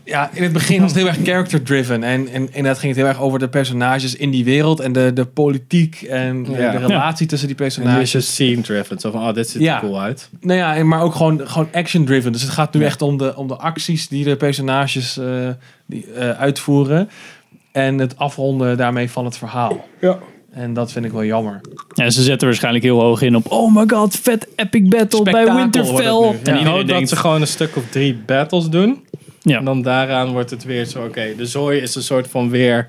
C: Ja, in het begin was het heel erg character driven. En, en inderdaad ging het heel erg over de personages in die wereld. En de, de politiek en de,
B: Ja.
C: de relatie tussen die
B: En nu
C: personages.
B: is je scene driven. Zo van, oh, dit ziet
C: Ja.
B: er cool uit.
C: Nou ja, en- maar ook gewoon, gewoon action driven. Dus het gaat nu echt om de, om de acties die de personages eh, die, eh, uitvoeren. En het afronden daarmee van het verhaal.
B: Ja.
C: En dat vind ik wel jammer.
A: en ze zetten waarschijnlijk heel hoog in op... Oh my god, vet epic battle bij
C: Spektakel
A: Winterfell.
C: wordt het
A: En
B: Ik
C: nu. Ja.
A: iedereen
B: hoop dat
A: denkt...
B: ze gewoon een stuk of drie battles doen.
A: Ja.
B: En dan daaraan wordt het weer zo, oké, de zooi is een soort van weer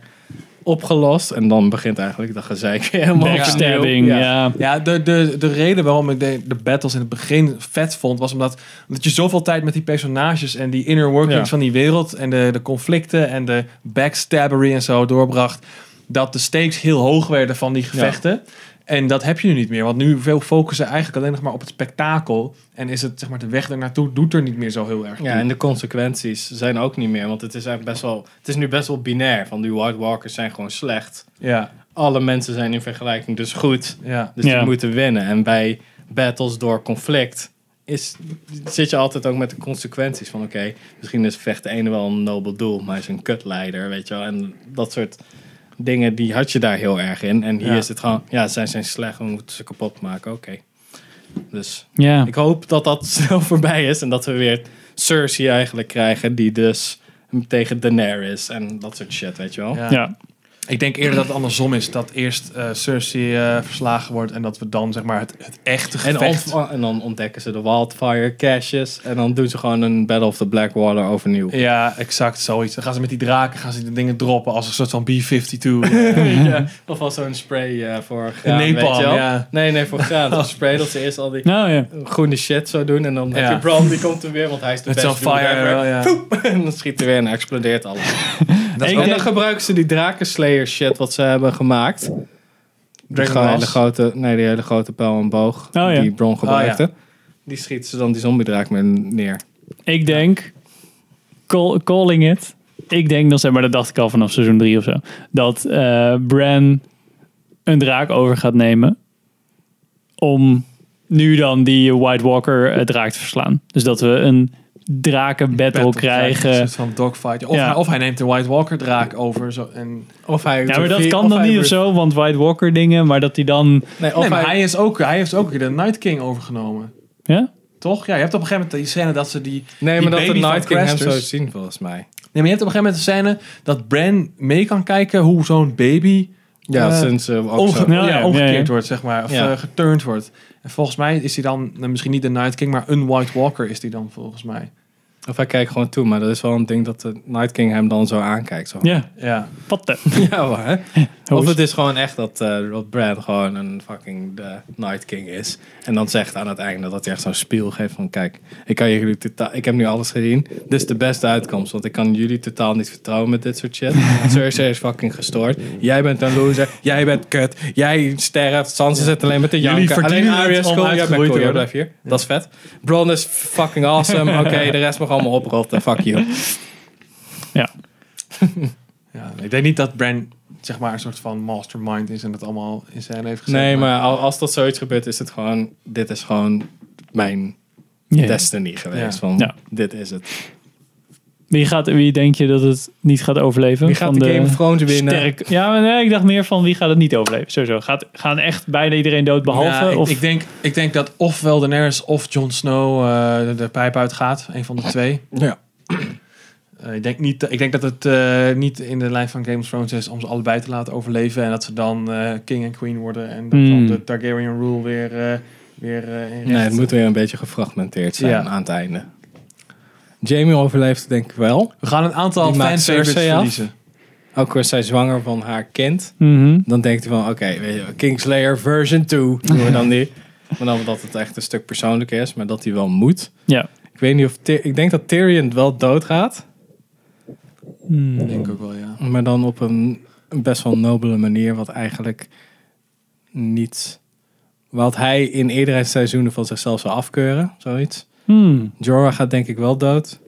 B: opgelost. En dan begint eigenlijk dat gezeik weer helemaal
A: Backstabbing,
B: opnieuw.
A: ja.
C: Ja, de, de, de reden waarom ik de, de battles in het begin vet vond, was omdat, omdat je zoveel tijd met die personages en die inner workings
B: Ja.
C: van die wereld en de, de conflicten en de backstabbery en zo doorbracht, dat de stakes heel hoog werden van die gevechten. En dat heb je nu niet meer, want nu veel focussen eigenlijk alleen nog maar op het spektakel. En is het, zeg maar, de weg ernaartoe doet er niet meer zo heel erg toe.
B: Ja, en de consequenties zijn ook niet meer. Want het is, eigenlijk best wel, het is nu best wel binair. Van die White Walkers zijn gewoon slecht.
C: ja,
B: Alle mensen zijn in vergelijking dus goed.
C: ja.
B: Dus
A: Ja.
B: die moeten winnen. En bij battles door conflict is, zit je altijd ook met de consequenties van... oké, misschien is vecht de ene wel een nobel doel, maar hij is een kutleider, weet je wel. En dat soort dingen, die had je daar heel erg in. En hier
C: Ja.
B: is het gewoon, ja, zij zijn slecht, we moeten ze kapot maken, oké. Dus
A: Ja.
B: ik hoop dat dat snel voorbij is en dat we weer Cersei eigenlijk krijgen... die dus tegen Daenerys en dat soort shit, weet je wel.
C: Ja.
A: ja.
C: Ik denk eerder dat het andersom is. Dat eerst eh, Cersei eh, verslagen wordt en dat we dan zeg maar, het, het echte
B: En,
C: gevecht...
B: of- en dan ontdekken ze de wildfire caches. En dan doen ze gewoon een Battle of the Blackwater overnieuw.
C: Ja, exact zoiets. Dan gaan ze met die draken gaan ze die dingen droppen als een soort van B-52. eh, ja.
B: Of als zo'n spray eh, voor graan,
C: napalm,
B: weet je wel?
C: ja.
B: Nee, nee, voor graan. Een spray dat ze eerst al die
A: Nou ja.
B: groene shit zo doen. En dan heb
C: Ja.
B: je Bran, die komt er weer, want hij is de
C: Met
B: best
C: zo'n
B: dude
C: fire.
B: ever.
C: wel, ja.
B: En dan schiet er weer en explodeert alles.
C: Dat is
B: en dan
C: ook-
B: gebruiken ze die drakenslayer shit wat ze hebben gemaakt. Die
C: Dragon
B: hele
C: Balls.
B: grote, nee, die hele grote pijl en boog
A: ja.
B: die Bron gebruikte.
C: Oh,
B: Die schieten ze dan die zombiedraak mee neer.
A: Ik denk, call- calling it. Ik denk dat, zeg maar, dat dacht ik al vanaf seizoen 3 of zo. Dat eh, Bran een draak over gaat nemen. Om nu dan die White Walker eh, draak te verslaan. Dus dat we een drakenbattle
C: Battle
A: krijgen.
C: Een
B: Dus
C: soort van dogfight. Ja, Of,
A: Ja.
C: hij, of hij neemt de White Walker draak over. Zo, en,
B: Of hij
A: Ja, maar dat
B: of
A: kan dan
B: hij-
A: niet of zo, want White Walker dingen. Maar dat die dan.
B: Nee, of
C: nee, maar
B: hij
C: hij, is ook, hij heeft ook de Night King overgenomen.
A: Ja?
C: Toch? Ja, je hebt op een gegeven moment die scène dat ze die.
B: Nee,
C: die
B: maar dat de
C: baby van dus.
B: Night King hem
C: Craster's-
B: zo zien, volgens mij.
C: Nee, maar je hebt op een gegeven moment de scène dat Bran mee kan kijken hoe zo'n baby
B: Ja,
C: Eh,
B: sinds eh, ook
C: omge
B: zo.
A: Ja,
C: ja,
A: ja,
C: omgekeerd
A: ja, ja.
C: wordt, zeg maar. Of
B: Ja.
C: eh, geturnd wordt. En volgens mij is hij dan nou, misschien niet de Night King, maar een White Walker is die dan volgens mij.
B: Of hij kijkt gewoon toe, maar dat is wel een ding dat de Night King hem dan zo aankijkt. Zo.
A: Ja,
C: Ja.
A: wat de.
B: Ja, hoor, hè? Of het is gewoon echt dat, eh dat Brad gewoon een fucking de Night King is. En dan zegt aan het einde dat hij echt zo'n spiel geeft van... Kijk, ik, kan jullie totaal, ik heb nu alles gezien. Dit is de beste uitkomst, want ik kan jullie totaal niet vertrouwen met dit soort shit. Cersei is fucking gestoord. Jij bent een loser. Jij bent kut. Jij sterft. Sansa zit alleen met de
C: Jullie
B: janken. Alleen
C: verdienen het
B: Arya is
C: om
B: cool. Jij bent
C: uitgeroeid
B: cool.
C: te
B: Jij
C: worden.
B: blijft hier. Dat is vet. Bron is fucking awesome. Oké, de rest mag allemaal oprotten. Fuck you.
A: Ja.
C: ja. Ik denk niet dat Bran zeg maar een soort van mastermind is en dat allemaal in scène heeft gezet.
B: Nee, maar al- als dat zoiets gebeurt, is het gewoon... Dit is gewoon mijn
A: Ja.
B: destiny geweest.
C: Ja.
B: Van,
A: Ja.
B: Dit is het.
A: Wie, gaat, wie denk je dat het niet gaat overleven?
B: Wie gaat
A: Van
B: de Game of Thrones winnen?
A: Sterk. Ja, maar nee, ik dacht meer van wie gaat het niet overleven. Sowieso. Gaat, gaan echt bijna iedereen dood behalve?
C: Ja, ik,
A: of,
C: ik, denk, ik denk dat ofwel Daenerys of Jon Snow eh, de, de pijp uitgaat. Een van de twee.
B: Ja.
C: Eh, ik, denk niet, ik denk dat het eh, niet in de lijn van Game of Thrones is om ze allebei te laten overleven. En dat ze dan eh, king en queen worden. En dat dan
A: Hmm.
C: de Targaryen rule weer, eh, weer eh, in
B: Nee,
C: recht-
B: het moet weer een beetje gefragmenteerd zijn
C: Ja.
B: aan het einde. Jamie overleeft denk ik wel.
C: We gaan een aantal
B: Die maakt
C: fanservice
B: Cersei af.
C: verliezen.
B: Ook wordt zij zwanger van haar kind.
A: Mhm.
B: Dan denkt hij van, oké, weet je, Kingslayer version 2 doen we dan nu. Maar dan dat het echt een stuk persoonlijk is, maar dat hij wel moet.
A: Ja.
B: Ik weet niet of... Ty- ik denk dat Tyrion wel doodgaat.
C: Ik denk ook wel, ja.
B: Maar dan op een, een best wel nobele manier, wat eigenlijk niet. Wat hij in eerdere seizoenen van zichzelf zou afkeuren, zoiets.
A: Hmm.
B: Jorah gaat denk ik wel dood.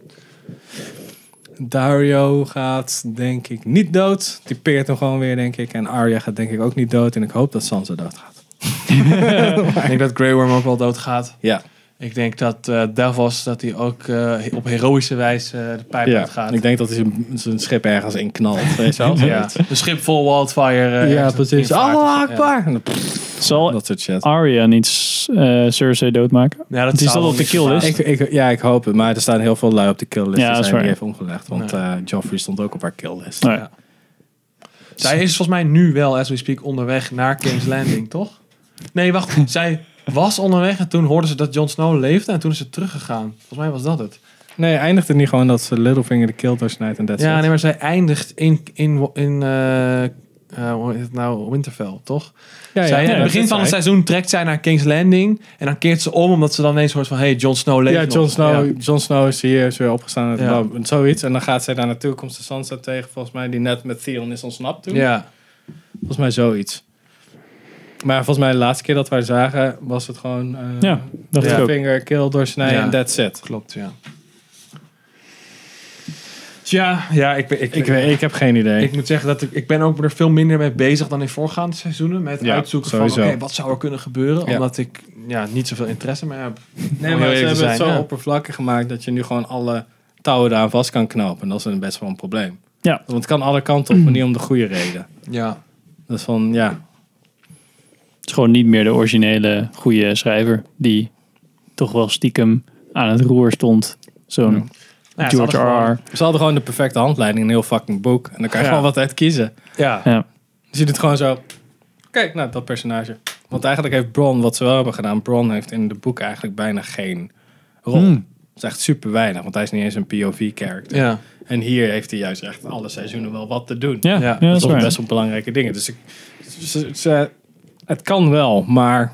B: Dario gaat denk ik niet dood. Die peert hem gewoon weer, denk ik. En Arya gaat denk ik ook niet dood. En ik hoop dat Sansa dood gaat.
C: Ik denk dat Grey Worm ook wel doodgaat.
B: Ja,
C: Ik denk dat eh, Davos dat hij ook eh, op heroïsche wijze eh, de pijp
B: ja.
C: uitgaat.
B: ik denk dat hij zijn- zijn schip ergens in knalt. Weet je wel?
C: ja. Een schip vol wildfire. eh,
B: ja,
C: ergens
B: precies.
C: in vaart of zo.
B: Allah
C: Ja.
B: Akbar! En dan pff,
A: Zal
B: Dat soort shit.
A: Arya niet s- eh Cersei doodmaken?
C: Ja,
A: Het is
C: zou
A: dat
C: wel
A: op de
C: niet
A: kill list.
B: Ik,
C: verbazen.
B: ik, ja, ik hoop het. Maar er staan heel veel lui op de killlist.
A: Ja,
B: Ja,
A: dat
B: die
A: is
B: zijn die
A: waar.
B: heeft omgelegd. Want eh Joffrey stond ook op haar killlist.
A: Nee.
C: Ja. Zij is volgens mij nu wel, as we speak, onderweg naar King's Landing, toch? Nee, wacht. Zij was onderweg en toen hoorden ze dat Jon Snow leefde en toen is ze teruggegaan. Volgens mij was dat het.
B: Nee, eindigt het niet gewoon dat ze Littlefinger de keel doorsnijdt en dat
C: Ja, nee, maar zij eindigt in, in, in eh, eh, hoe heet het nou? Winterfell, toch?
B: Ja, ja,
C: zij,
B: ja,
C: aan het
B: dat
C: begin
B: is
C: van het
B: zij.
C: seizoen trekt zij naar King's Landing. En dan keert ze om, omdat ze dan ineens hoort van... Hey, Jon Snow leeft
B: Ja,
C: nog.
B: Jon Snow,
C: Ja.
B: Jon Snow is hier, is weer opgestaan uit de
C: Ja.
B: dood en zoiets. En dan gaat zij daar naartoe, komt ze Sansa tegen, volgens mij, die net met Theon is ontsnapt toen.
C: Ja.
B: Volgens mij zoiets. Maar volgens mij de laatste keer dat wij zagen, was het gewoon eh
A: Ja, dat
B: de
A: is ook.
B: vinger, keel doorsnijden
C: Ja.
B: en that's it.
C: klopt, ja. Tja, ja, ik, ben- ik,
B: Ik, weet, ik heb geen idee.
C: Ik moet zeggen dat ik, ik ben ook er veel minder mee bezig dan in voorgaande seizoenen. Met
B: Ja,
C: uitzoeken
B: sowieso.
C: van, oké, wat zou er kunnen gebeuren?
B: Ja.
C: Omdat ik ja, niet zoveel interesse meer heb.
B: nee,
C: om
B: maar
C: heel
B: ze
C: eerlijk
B: hebben
C: te
B: het zo
C: zijn, ja.
B: oppervlakkig gemaakt dat je nu gewoon alle touwen daaraan vast kan knopen. En dat is een best wel een probleem.
A: Ja.
B: Want het kan alle kanten op, maar niet om de goede reden.
C: Ja,
B: Dat is van, ja,
A: Het is gewoon niet meer de originele goede schrijver die toch wel stiekem aan het roer stond. Zo'n
C: Ja, ze
A: George
C: hadden
A: R.
C: gewoon-
B: ze hadden gewoon de perfecte handleiding, in een heel fucking boek. En dan kan je
C: Ja.
B: gewoon wat uit kiezen.
C: ja.
A: Ja.
B: Dus je doet gewoon zo. Kijk, nou, dat personage. Want eigenlijk heeft Bron, wat ze wel hebben gedaan, Bron heeft in de boek eigenlijk bijna geen rol.
C: Hmm.
B: Het is echt super weinig, want hij is niet eens een POV-character.
C: Ja.
B: En hier heeft hij juist echt alle seizoenen wel wat te doen.
A: Ja,
C: Ja,
A: ja,
C: dat
A: dat is
B: dat
A: waar.
B: is best wel belangrijke dingen. Dus ik, ze- ze- het kan wel, maar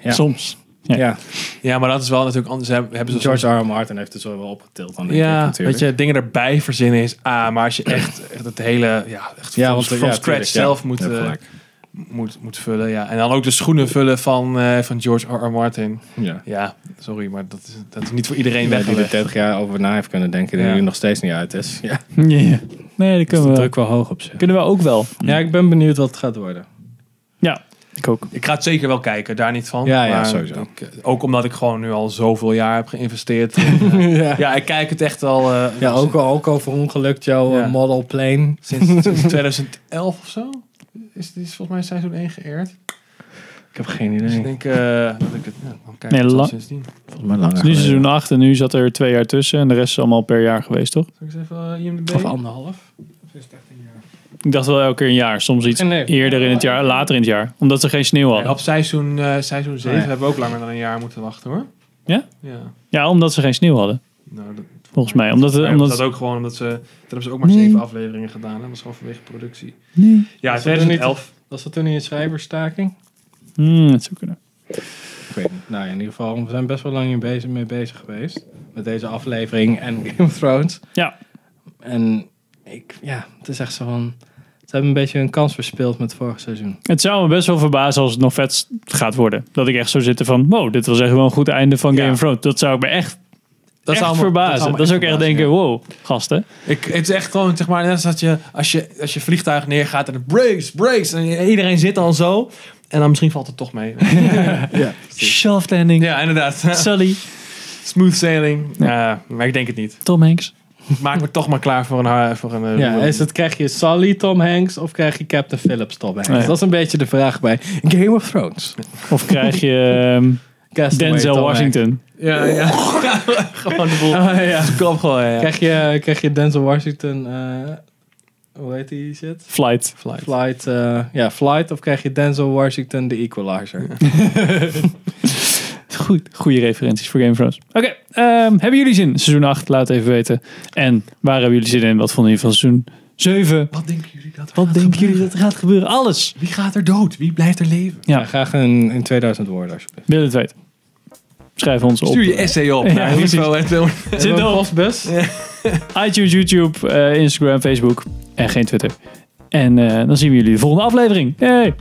B: ja.
A: Soms.
B: ja.
A: Ja.
B: Dus
C: ja, maar dat is wel natuurlijk anders. Ze Hebben hebben ze
B: George R. R. Martin heeft het zo wel opgetild. Dan denk ik
C: Ja,
B: natuurlijk.
C: weet je, dingen erbij verzinnen is A, maar als je echt, echt het hele, ja, echt
B: ja,
C: from,
B: want
C: from
B: ja,
C: scratch
B: tuurlijk, ja.
C: zelf moet,
B: Ja,
C: eh,
B: gelijk.
C: moet, moet vullen, ja. En dan ook de schoenen vullen van, eh, van George R. R. Martin.
B: ja.
C: Ja, sorry, maar dat is, dat is niet voor iedereen
B: Ja, die er
C: weggelegd.
B: 30 jaar over na heeft kunnen denken, die
C: Ja.
B: nu nog steeds niet uit is. Ja,
A: Ja. Nee, dat kunnen
B: de
A: we wel.
B: druk wel hoog op zich.
A: Kunnen we ook wel.
B: Ja, ik ben benieuwd wat het gaat worden.
A: Ja, ik ook.
C: Ik ga het zeker wel kijken, daar niet van.
B: Ja, ja,
C: maar
B: sowieso.
C: ik- eh, ook omdat ik gewoon nu al zoveel jaar heb geïnvesteerd. ja. ik kijk het echt al eh,
B: Ja, ook, ook over ongelukt jouw
C: Ja.
B: eh, model plane.
C: sinds, sinds 2011 of zo. Is, is volgens mij seizoen 1 geëerd.
B: Ik heb geen
C: Dus
B: idee.
C: ik denk eh, dat ik het... Ja, dan kijk ik
A: Nee,
C: het al
A: la-
C: sindsdien.
B: Volgens mij langer.
A: Nu seizoen 8 en nu zat er twee jaar tussen en de rest is allemaal per jaar geweest, toch?
C: Zal ik eens even eh, IMDb?
B: Of anderhalf.
A: Ik dacht wel elke keer een jaar. Soms iets
B: Nee, nee.
A: eerder in het jaar, later in het jaar. Omdat ze geen sneeuw
C: Ja,
A: hadden.
C: op seizoen, eh, seizoen 7
B: Nee.
C: hebben we ook langer dan een jaar moeten wachten hoor.
A: Oh Ja?
C: Ja.
A: Ja, omdat ze geen sneeuw hadden.
C: Nou, dat,
A: Volgens mij. Omdat,
C: maar
A: het-
C: ja,
A: Eh, omdat,
C: dat ook gewoon omdat ze... Daar hebben ze ook maar
A: Nee.
C: zeven afleveringen gedaan. Hè? Dat was gewoon vanwege productie.
A: Nee.
C: Ja,
B: Was dat er niet-
C: 2011.
B: Was dat toen in een schrijverstaking?
A: Hmm, het zou kunnen.
B: Ik weet niet. Nou, ja, in ieder geval, we zijn best wel lang hier bezig, mee bezig geweest. Met deze aflevering en Game of Thrones.
A: Ja.
B: En ik, ja, het is echt zo van... Ze hebben een beetje hun kans verspeeld met vorig seizoen.
A: Het zou me best wel verbazen als het nog vet gaat worden. Dat ik echt zou zitten van, wow, dit was echt wel een goed einde van Game
C: Ja.
A: of Thrones. Dat zou ik me echt,
C: Dat
A: echt
C: zou me-
A: verbazen. Dat,
C: zou me
A: is ook echt
C: verbazen,
A: denken,
C: ja.
A: wow, gasten.
C: Ik, het is echt gewoon, zeg maar, net als dat je als, je, als je vliegtuig neergaat en het breaks, breaks. En iedereen zit dan zo. En dan misschien valt het toch mee.
A: Shaft landing.
C: ja, inderdaad.
A: Sully.
C: Smooth sailing. Ja, maar ik denk het niet.
A: Tom Hanks.
C: Maak me toch maar klaar voor een... ha- Voor een eh,
B: Ja,
C: real-
B: is het, krijg je Sully Tom Hanks of krijg je Captain Phillips Tom Hanks?
A: Oh, Ja.
B: Dat is een beetje de vraag bij Game of Thrones.
A: Of krijg je ehm,
B: Castaway
A: Denzel
B: Tom
A: Washington. Oh,
C: ja, ja. gewoon de boel.
B: Hanks. Ah, ja.
C: Kom gewoon, ja.
B: Krijg je, krijg je Denzel Washington, eh, hoe heet die shit?
A: Flight.
C: Flight.
B: Flight, eh, ja, Flight, of krijg je Denzel Washington, The Equalizer?
A: Goed. Goede referenties voor Game of Thrones. Oké, ehm, hebben jullie zin? in Seizoen 8, laat even weten. En waar hebben jullie zin in? Wat vonden jullie van seizoen 7?
C: Wat denken jullie dat er
A: Wat
C: gaat
A: denken
C: gebeuren?
A: jullie dat er gaat gebeuren? Alles.
C: Wie gaat er dood? Wie blijft er leven?
A: Ja.
B: Ja, graag een, in 2000 woorden alsjeblieft.
A: Wil je het weten? Schrijf ons op.
C: Stuur je essay op.
A: Ja,
C: naar
A: precies.
C: info@wil-
A: Zit
B: Hebben we een
A: op.
B: postbus?
A: iTunes, YouTube, eh, Instagram, Facebook en geen Twitter. En eh, dan zien we jullie de volgende aflevering. Hey!